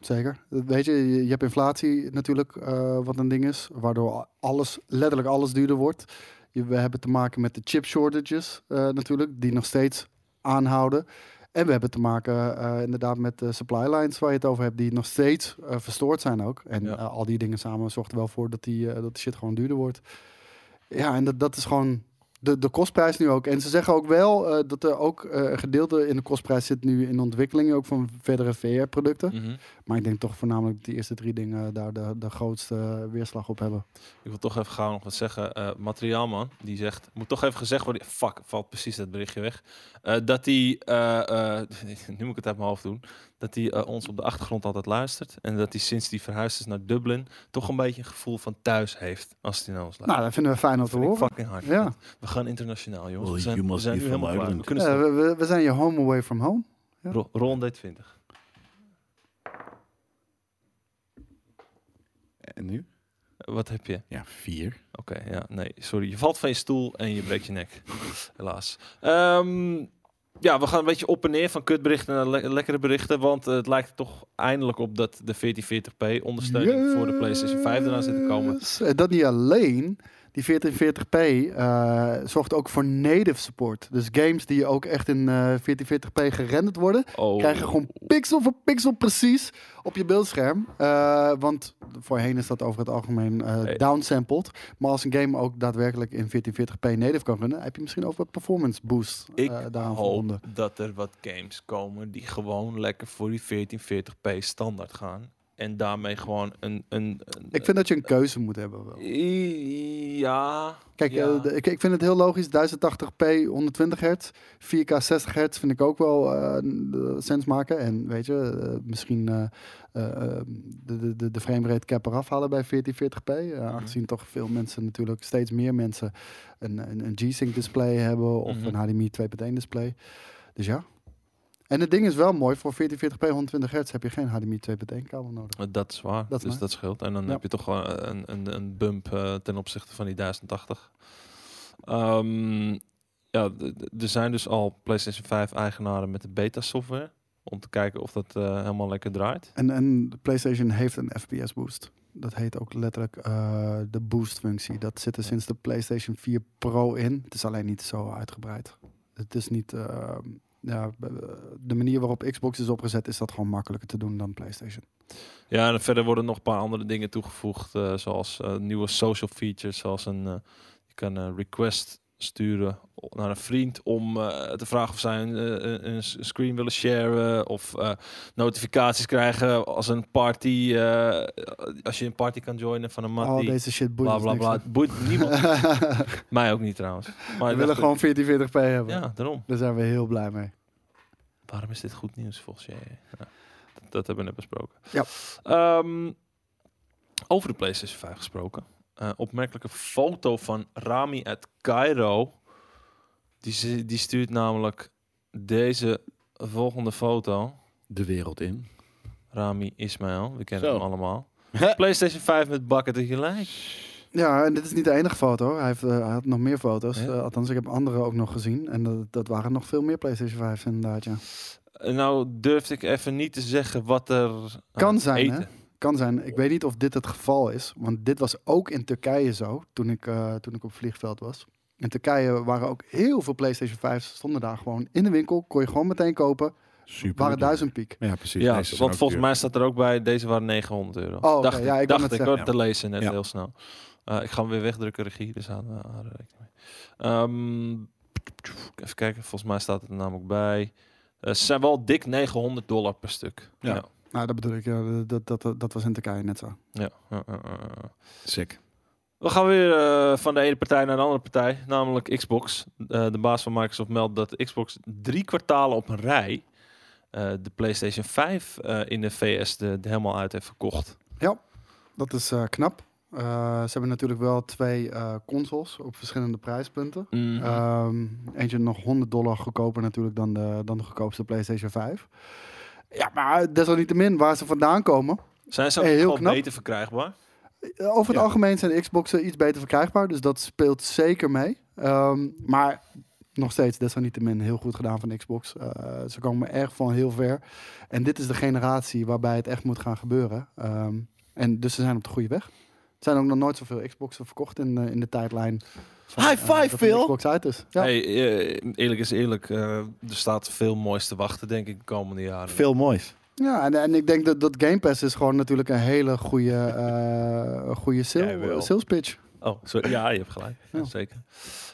Zeker. Weet je, je, je hebt inflatie natuurlijk, eh, wat een ding is. Waardoor alles, letterlijk alles duurder wordt. Je- we hebben te maken met de chip shortages eh, natuurlijk, die nog steeds aanhouden. En we hebben te maken eh, inderdaad met de supply lines waar je het over hebt, die nog steeds eh, verstoord zijn ook. En Ja. eh, al die dingen samen zorgt er wel voor dat die, eh, dat die shit gewoon duurder wordt. Ja, en dat, dat is gewoon de, de kostprijs nu ook. En ze zeggen ook wel eh, dat er ook eh, een gedeelte in de kostprijs zit nu in ontwikkeling, ook van verdere VR-producten. Mhm. Maar ik denk toch voornamelijk dat die eerste drie dingen daar de, de grootste weerslag op hebben. Ik wil toch even gauw nog wat zeggen. Eh, Materiaalman, die zegt... Moet toch even gezegd worden... Fuck, valt precies dat berichtje weg. Eh, dat hij... eh, [LAUGHS] eh, nu moet ik het uit mijn hoofd doen. Dat hij eh, ons op de achtergrond altijd luistert. En dat hij sinds hij verhuisd is naar Dublin... toch een beetje een gevoel van thuis heeft. Als hij naar ons luistert. Nou, dat vinden we fijn om te Vind ik horen. fucking hard. Ja. We gaan internationaal, jongens. Well, you we zijn, we must zijn be nu helemaal from klaar. We Ireland. kunnen Ja, staan. Eh, we, we- we zijn je home away from home. we- Ro- Ron deed 20. En nu? Eh, Wat heb je? Ja, vier. Oké, ja, nee, sorry. Je valt van je stoel en je breekt je nek. [LAUGHS] Helaas. Ehm, ja, we gaan een beetje op en neer van kutberichten naar le- lekkere berichten. Want eh, het lijkt er toch eindelijk op dat de 1440p ondersteuning voor de PlayStation 5 eraan zit te komen. Yes. En dat niet alleen. Die 1440p eh, zorgt ook voor native support. Dus games die ook echt in eh 1440p gerenderd worden, Oh, krijgen gewoon pixel voor pixel precies op je beeldscherm. Eh, want voorheen is dat over het algemeen eh Hey. downsampled. Maar als een game ook daadwerkelijk in 1440p native kan runnen, heb je misschien ook wat performance boost ik eh, daaraan verbonden. hoop dat er wat games komen die gewoon lekker voor die 1440p standaard gaan. En daarmee gewoon een... een, een- Ik vind dat je een keuze moet hebben. Wel. I- Ja... Kijk, ja. eh, de- ik, ik vind het heel logisch. 1080p, 120 hertz. 4K 60 hertz vind ik ook wel eh, n- eh, sens maken. En weet je, eh, misschien eh, eh, eh, de, de- de, de framerate cap eraf halen bij 1440p. eh, Mhm. Aangezien toch veel mensen natuurlijk, steeds meer mensen een, een, een G-Sync display hebben. Of Mhm. een HDMI 2.1 display. Dus ja. En het ding is wel mooi, voor 1440p 120 hertz heb je geen HDMI 2.1 kabel nodig. Eh, Dat is waar. Dat is dus waar. dat scheelt. En dan Ja. heb je toch wel een, een, een bump eh, ten opzichte van die 1080. Ehm, ja, d- d- er zijn dus al PlayStation 5 eigenaren met de beta software. Om te kijken of dat eh, helemaal lekker draait. En, en de PlayStation heeft een FPS boost. Dat heet ook letterlijk eh, de boost functie. Dat zit er sinds de PlayStation 4 Pro in. Het is alleen niet zo uitgebreid. Het is niet. eh, ja, b- b- de manier waarop Xbox is opgezet, is dat gewoon makkelijker te doen dan PlayStation. Ja, en verder worden nog een paar andere dingen toegevoegd. eh, zoals eh, nieuwe social features. Zoals een. eh, je kan een request sturen o- naar een vriend om eh, te vragen of zij een, eh, een- een s- een screen willen sharen. Of eh, notificaties krijgen als een party. eh, als je een party kan joinen van een Al mattie. Oh, deze shit boeit bla ons bla niks, bla. hè. Boeit [LAUGHS] niemand. Mij ook niet trouwens. Maar We ik willen dacht, gewoon 1440p hebben. Ja, daarom. Daar zijn we heel blij mee. Waarom is dit goed nieuws volgens jij? Nou, dat, dat hebben we net besproken. Ja. Ehm, over de PlayStation 5 gesproken. Eh, opmerkelijke foto van Rami uit Cairo. Die, ze- die stuurt namelijk deze volgende foto. De wereld in. Rami Ismail, we kennen Zo. hem allemaal. PlayStation 5 met bakken dat je lijkt. Ja, en dit is niet de enige foto. Hij, heeft, eh, hij had nog meer foto's. Ja. Eh, althans, ik heb andere ook nog gezien. En dat, dat waren nog veel meer PlayStation 5's inderdaad. Ja. Eh, Nou durfde ik even niet te zeggen wat er aan Kan het zijn, eten. hè? Kan zijn. Ik weet niet of dit het geval is. Want dit was ook in Turkije zo, toen ik, eh, toen ik op vliegveld was. In Turkije waren ook heel veel PlayStation 5's. Stonden daar gewoon in de winkel. Kon je gewoon meteen kopen. Super. Waren duur. duizend piek. Ja, precies. Ja, Nee, ze zijn want ook volgens duur. mij staat er ook bij, deze waren 900 euro. Oh, oké, dacht ja, ik, ik wou dacht net ik zeggen. hoor, te lezen net Ja. heel snel. Eh, ik ga hem weer wegdrukken, regie, dus aan haar rekening mee. Ehm, even kijken, volgens mij staat het er namelijk bij. Eh, Ze zijn wel dik 900 dollar per stuk. Ja. Nou, dat bedoel ik. ja, dat, dat, dat, dat was in Turkije net zo. Ja. ja, ja, ja, ja. Sick. We gaan weer eh, van de ene partij naar de andere partij, namelijk Xbox. Eh, de baas van Microsoft meldt dat Xbox drie kwartalen op een rij eh, de PlayStation 5 eh, in de VS de, de helemaal uit heeft verkocht. Dat is eh, knap. Eh, ze hebben natuurlijk wel twee eh, consoles op verschillende prijspunten. Mm. Mhm. Ehm, eentje nog 100 dollar goedkoper natuurlijk dan de, dan de goedkoopste PlayStation 5. Ja, maar eh, desalniettemin waar ze vandaan komen. Zijn ze ook eh, heel gewoon knap. beter verkrijgbaar? Eh, Over het Ja. algemeen zijn de Xboxen iets beter verkrijgbaar. Dus dat speelt zeker mee. Ehm, maar nog steeds desalniettemin heel goed gedaan van Xbox. Eh, ze komen echt van heel ver. En dit is de generatie waarbij het echt moet gaan gebeuren. Ehm, en dus ze zijn op de goede weg. Er zijn ook nog nooit zoveel Xboxen verkocht in, eh, in de tijdlijn. van, High eh, five, dat een Phil! Xbox uit is. Ja. Hey, eh, eerlijk is eerlijk, eh, er staat veel moois te wachten, denk ik, de komende jaren. Veel moois. Ja, en, en ik denk dat, dat Game Pass is gewoon natuurlijk een hele goede, eh goede Jij sale, wel. sales pitch. Oh, sorry. ja, je hebt gelijk. Ja, Ja. zeker.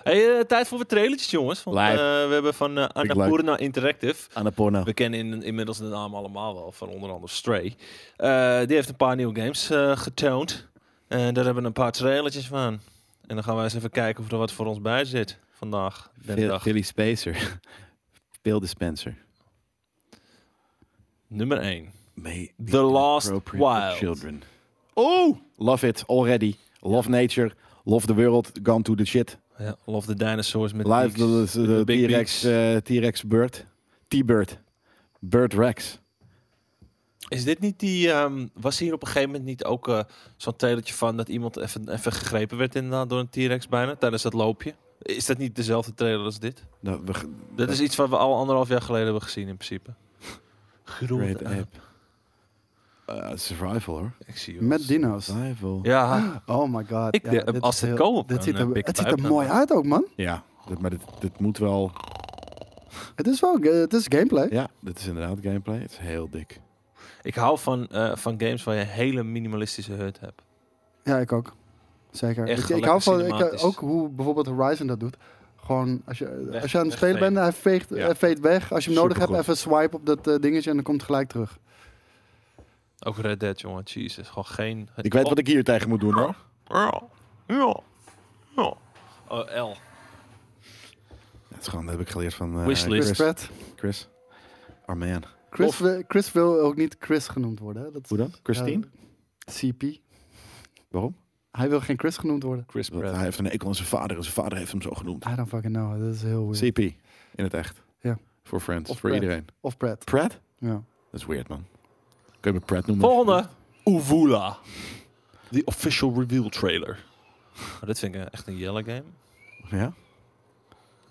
Hey, eh, tijd voor wat trailertjes, jongens. Want, Lijp. eh, we hebben van eh leuk. Annapurna Interactive. Aan de porno. We kennen in, inmiddels de naam allemaal wel, van onder andere Stray. Eh, die heeft een paar nieuwe games eh, getoond. En daar hebben we een paar trailertjes van. En dan gaan wij eens even kijken of er wat voor ons bij zit vandaag. Den Phil- dag. Philly Spacer. [LAUGHS] Phil Dispenser. Nummer 1. May The Last appropriate for Wild. Children. Oh! Love it already. Love nature. Love the world. Gone to the shit. Ja, Love the Dinosaurs met Live beaks, the, met the, big T-Rex beaks. eh, T-Rex bird. T-bird. Bird Rex. Is dit niet die... ehm, was hier op een gegeven moment niet ook eh, zo'n telertje van... dat iemand even, even gegrepen werd inderdaad door een T-Rex bijna tijdens dat loopje? Is dat niet dezelfde trailer als dit? Nou, we g- Dat is iets wat we al anderhalf jaar geleden hebben gezien in principe. Groot. Great ape. Eh, survival hoor. Ik zie wel Met eens. dino's. Survival. Ja, Oh my god. Ik denk, dit als is het koopt, dit dan, ziet eh, er, pik het het ziet er uit, mooi dan. uit ook, man. Ja, dit, maar dit, dit moet wel... Het is wel, eh, het is gameplay. Ja, dit is inderdaad gameplay. Het is heel dik. ik hou van, eh, van games waar je een hele minimalistische hut hebt. Ja, ik ook. Zeker. Echt Ik, wel ik hou lekker van ik, eh, cinematisch. ook hoe bijvoorbeeld Horizon dat doet. Gewoon, als je, Weg- als je aan het spelen wegvegen. bent, hij veegt, Ja. hij veegt weg. Als je hem nodig hebt, Supergoed. even swipe op dat eh, dingetje en dan komt het gelijk terug. Ook Red Dead, jongen. Jezus, gewoon geen... Ik weet wat ik hier tegen moet doen hoor. Ja, ja, ja. Oh, L. Dat, is gewoon, dat heb ik geleerd van eh, Wishlist. Chris. Chris Pratt. Chris. Our man. Chris, Of- wil- Chris wil ook niet Chris genoemd worden. Hè? Dat is- Hoe dan? Christine? Ja, CP. Waarom? Hij wil geen Chris genoemd worden. Chris Want Pratt. hij heeft een ekel aan zijn vader en zijn vader heeft hem zo genoemd. I don't fucking know. Dat is heel weird. CP. In het echt. Ja. Voor Friends. Of voor Pratt. iedereen. Of Pratt. Pratt? Ja. Dat is weird man. Kun je me Pratt noemen? Volgende. Uvula. The official reveal trailer. Oh, dit vind ik eh, echt een jelle game. Ja?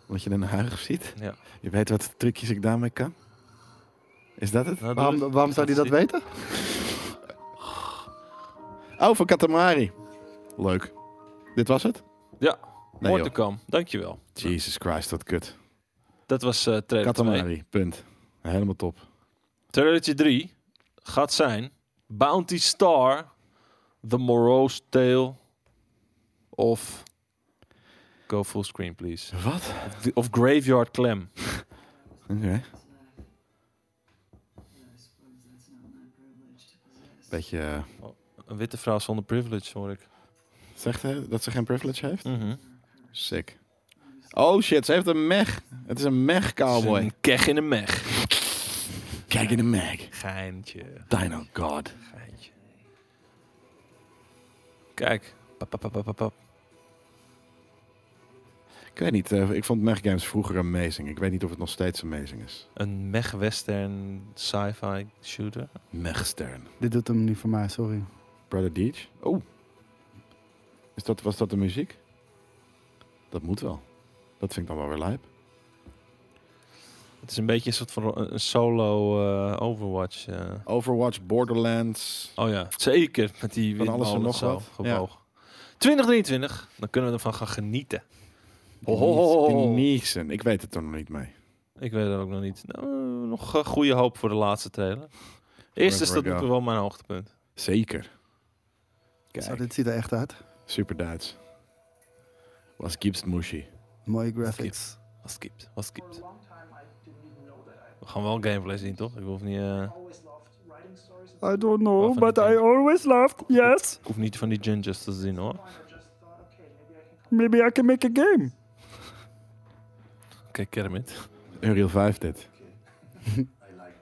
Omdat je een huig ziet? Ja. Je weet wat trucjes ik daarmee kan? Is dat het? Nou, doe Waarom, het. waarom zou hij dat weten? Oh, van Katamari. Leuk. Dit was het? Ja. Nee, Mooi te joh. komen. Dankjewel. Jesus Christ, wat kut. Dat was eh trailer 2. Katamari, punt. Helemaal top. Trailertje 3 gaat zijn Bounty Star, The Morose Tale of Go Full Screen Please. Wat? Of Graveyard Clam. Oké. Beetje, eh, Een witte vrouw zonder privilege hoor ik. zegt hij dat ze geen privilege heeft? Sick. Oh shit, ze heeft een mech. Het is een mech cowboy. Een keg in een meg. Kijk in de mech. Geintje, Dino God. geintje. Kijk. Pap, pap, pap, pap, pap, pap. Ik weet niet, eh, ik vond mech games vroeger amazing. Ik weet niet of het nog steeds amazing is. Een mech-western sci-fi shooter. Mechstern. Dit doet hem niet voor mij, sorry. Brother Deej. Oh. Is dat, was dat de muziek? Dat moet wel. Dat vind ik dan wel weer lijp. Het is een beetje een soort van ro- een solo eh, Overwatch. eh. Overwatch, Borderlands. Oh ja, zeker. Met die Van alles en windmolen nog zo wat. gebogen. 2023, dan kunnen we ervan gaan genieten. Ho, ho, ho, Oh. ho, ho. Niesen. Ik weet het er nog niet mee. Ik weet dat ook nog niet. Nou, eh, nog eh, goede hoop voor de laatste trailer. Eerst is I dat go. natuurlijk wel mijn hoogtepunt. Zeker. Zo, Kijk, dit ziet er echt uit. super Duits. Was Gibbs Mushy. Mooie graphics. Wat skipt, wat skipt. We gaan wel gameplay zien, toch? Ik hoef niet... eh, always loved writing stories. I don't know, Waarvan but but die I I tent? always laughed. Yes, Ik hoef niet van die gingers te zien hoor. maybe I can make a game. Oké, Kermit. Unreal [LAUGHS] 5 dit. I like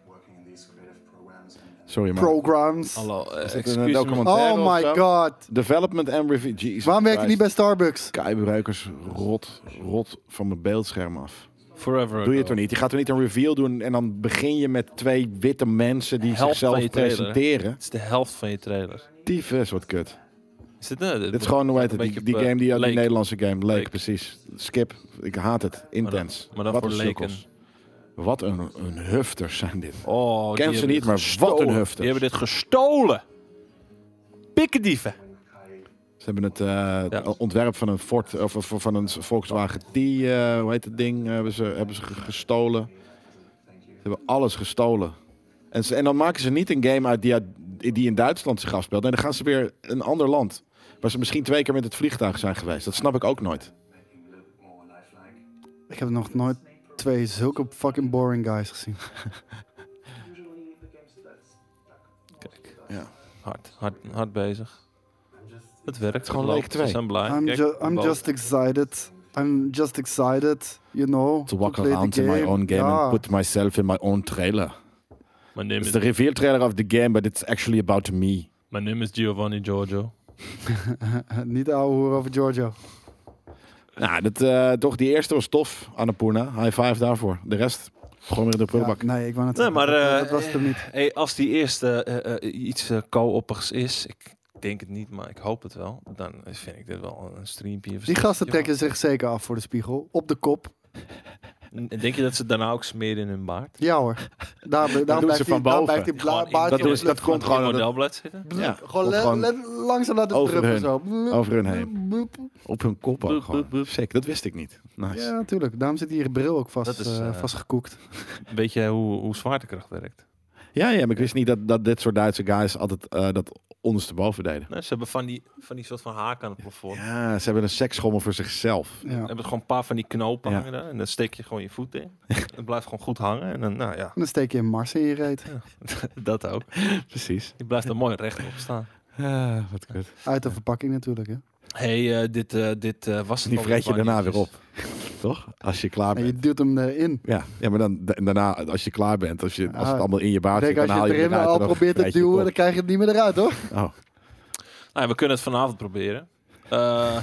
working in these creative programs and, and Sorry maar. Programs. Hallo, eh, Is het excuus een me. documentaire Oh my of zo? god. Development and review. Jesus Waarom werk ik niet Christ. bij Starbucks? Skybereikers rot, rot van mijn beeldscherm af. Doe Forever je het ago. toch niet? Je gaat toch niet een reveal doen en dan begin je met twee witte mensen die Helft zichzelf van je trailer. presenteren. Het is de helft van je trailer. Tyfus, wat kut. Is dit, eh, Dit is gewoon, hoe heet een het, die, beetje die op, eh, game, die, die Lake. Nederlandse game. Leek, Lake. precies. Skip. Ik haat het. Intens. maar dan wat voor een leken. sukkels. Wat een, een hufters zijn dit. Oh, die Ken ze hebben niet, dit maar gestolen. wat een hufter. Die hebben dit gestolen. Pikkendieven. Ze hebben het eh, ontwerp van een Ford of of- van een Volkswagen T, eh, hoe heet het ding, hebben ze, hebben ze ge- gestolen. Ze hebben alles gestolen. En, ze, en dan maken ze niet een game uit die, uit die in Duitsland zich afspeelt. Nee, dan gaan ze weer een ander land. Waar ze misschien twee keer met het vliegtuig zijn geweest. Dat snap ik ook nooit. more lifelike. Ik heb nog nooit twee zulke fucking boring guys gezien. Usually the games that's stuck. Kijk, Ja. hard, hard, hard bezig. I'm just Het werkt. Het gewoon loopt. Lake 2. Ze zijn blij. I'm, Kijk, ju- I'm boven. just excited. I'm just excited, you know. To walk play the around in my own game Ja. and put myself in my own trailer. My name, It's is, the reveal trailer of the game, but it's actually about me. my name is Giovanni Giorgio. [LAUGHS] Niet ouwe hoeren over Giorgio. Nou, dat, eh, toch, die eerste was tof, Annapurna. High five daarvoor. De rest, gewoon weer in de prullenbak. Ja, nee, ik wou net Nee, zeggen, maar, dat, eh, dat was het hem niet. Hey, als die eerste eh, eh, iets eh, co-oppigs is, ik denk het niet, maar ik hoop het wel. Dan vind ik dit wel een streampje. of Die zo. gasten trekken zich zeker af voor de spiegel. Op de kop. En Denk je dat ze daarna ook smeren in hun baard? [LAUGHS] Ja hoor. Daar, daar doen blijft ze die, van daar boven. blijft die bla- Gewoon in- baard dat op doen ze- het dat komt Op gewoon- je modelblad zitten? lucht. Ja, Gewoon, of le- gewoon le- langzaam laten over druppen hun- zo. [LAUGHS] over hun heen. Op hun kop ook Boep, gewoon. boep, boep. Sick, dat wist ik niet. Nice. Ja, natuurlijk. Daarom zit hier je bril ook vast, Dat is, eh, eh, vastgekoekt. Weet jij eh, hoe, hoe zwaartekracht werkt? Ja, ja, maar ik wist niet dat, dat dit soort Duitse guys altijd eh, dat ondersteboven deden. Nee, ze hebben van die, van die soort van haken aan het plafond. Ja, ze hebben een seksschommel voor zichzelf. Ja. hebben gewoon een paar van die knopen Ja. hangen daar. En dan steek je gewoon je voet in. het blijft gewoon goed hangen. En dan, nou ja, En dan steek je een Mars in je reet. [LAUGHS] dat ook. [LAUGHS] Precies. Die blijft er mooi rechtop staan. Ah, wat kut. Uit de verpakking natuurlijk. Hè. hey, eh, dit, eh, dit eh, was het Die alweer, vreet je Barney. daarna weer op. Toch? Als je klaar En bent. je duwt hem erin. Ja, ja maar dan da- daarna, als je klaar bent, als, je, als Ah, het allemaal in je baard zit, Kijk, dan als je haal het je erin eruit al en dan probeert te vreet je het duwen, dan op. krijg je het niet meer eruit, hoor. Oh, Nou, ja, we kunnen het vanavond proberen. Eh,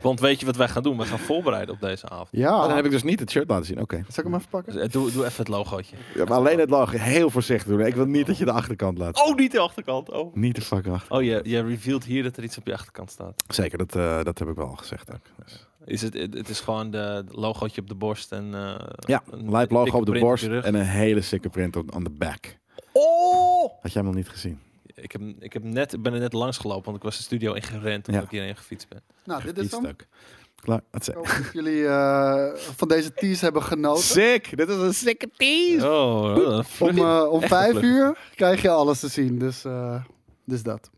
want weet je wat wij gaan doen? We gaan voorbereiden op deze avond. Ja. Oh, dan heb ik dus niet het shirt laten zien. Oké. Zal ik hem even [LAUGHS] pakken? Dus, eh, doe, doe even het logootje. Ja, maar alleen het lag heel voorzichtig doen. Ik wil niet dat je de achterkant laat. Oh, niet de achterkant. Oh, Niet de fuck achter. oh je, je revealed hier dat er iets op je achterkant staat. Zeker, dat, eh, dat heb ik wel al gezegd. Ook. Dus- Is het, het het is gewoon de het logootje op de borst en... eh, Ja, een lijp logo dikke op de print borst je rug. en een hele sikke print op- aan de back. Oh! Had jij hem nog niet gezien? Ik, heb, ik heb net, ik ben er net langs gelopen, want ik was de studio ingerend omdat Ja. ik hierheen gefietst ben. Nou, dit is Die dan. stuk. Klaar, dat Ik hoop dat jullie eh, van deze tease hebben [LAUGHS] genoten. Sick! Dit is een sikke tease! Oh, Om, eh, Echt om een vijf plug. uur krijg je alles te zien. Dus, eh, dus dat.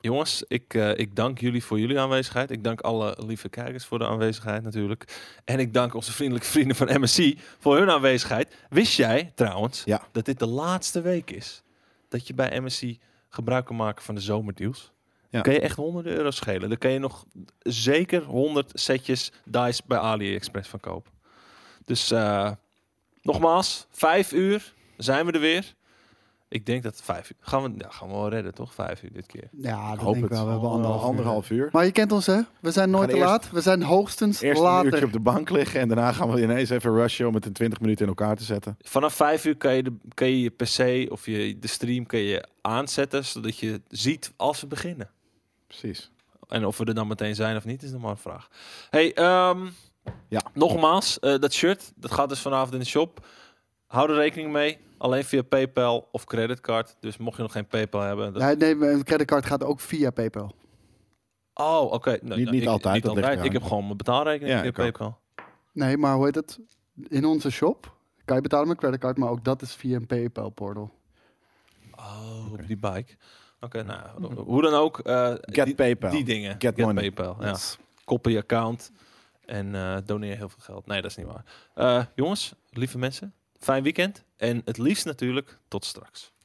Jongens, ik, eh, ik dank jullie voor jullie aanwezigheid. Ik dank alle lieve kijkers voor de aanwezigheid natuurlijk. En ik dank onze vriendelijke vrienden van MSC voor hun aanwezigheid. Wist jij trouwens Ja. dat dit de laatste week is dat je bij MSC gebruik kan maken van de zomerdeals? Ja. Dan kan je echt honderden euro's schelen. Dan kan je nog zeker 100 setjes dice bij AliExpress van kopen. Dus eh, nogmaals, vijf uur zijn we er weer. Ik denk dat vijf uur. Gaan we, ja, gaan we wel redden, toch? Vijf uur dit keer. Ja, dat hoop denk ik het. Oh, wel. We hebben anderhalf, uur. Anderhalf uur. Maar je kent ons, hè? We zijn nooit te gaan eerst- laat. We zijn hoogstens Eerst een later. uurtje op de bank liggen en daarna gaan we ineens even rushen om het in 20 minuten in elkaar te zetten. Vanaf vijf uur kan je, de, kan je je PC of je, de stream kan je aanzetten, zodat je ziet als we beginnen. Precies. En of we er dan meteen zijn of niet, is nog maar een vraag. Hey, ehm, Ja. nogmaals, eh, dat shirt, dat gaat dus vanavond in de shop. Hou er rekening mee, alleen via PayPal of creditcard. Dus mocht je nog geen PayPal hebben... dat- Nee, nee, mijn creditcard gaat ook via PayPal. Oh, oké. Nee, Niet- nou, niet ik- altijd, dat ligt eraan. Ik heb gewoon mijn betaalrekening Ja, via ik ook. PayPal. Nee, maar hoe heet het? In onze shop kan je betalen met creditcard, maar ook dat is via een PayPal-portal. Oh, op die bike. Oké, nou, hoe dan ook. eh, Mm-hmm. Get die, PayPal. die dingen. Get money. PayPal, ja. koppel je account en eh, doneer heel veel geld. Nee, dat is niet waar. Eh, jongens, lieve mensen, fijn weekend. En het liefst natuurlijk tot straks.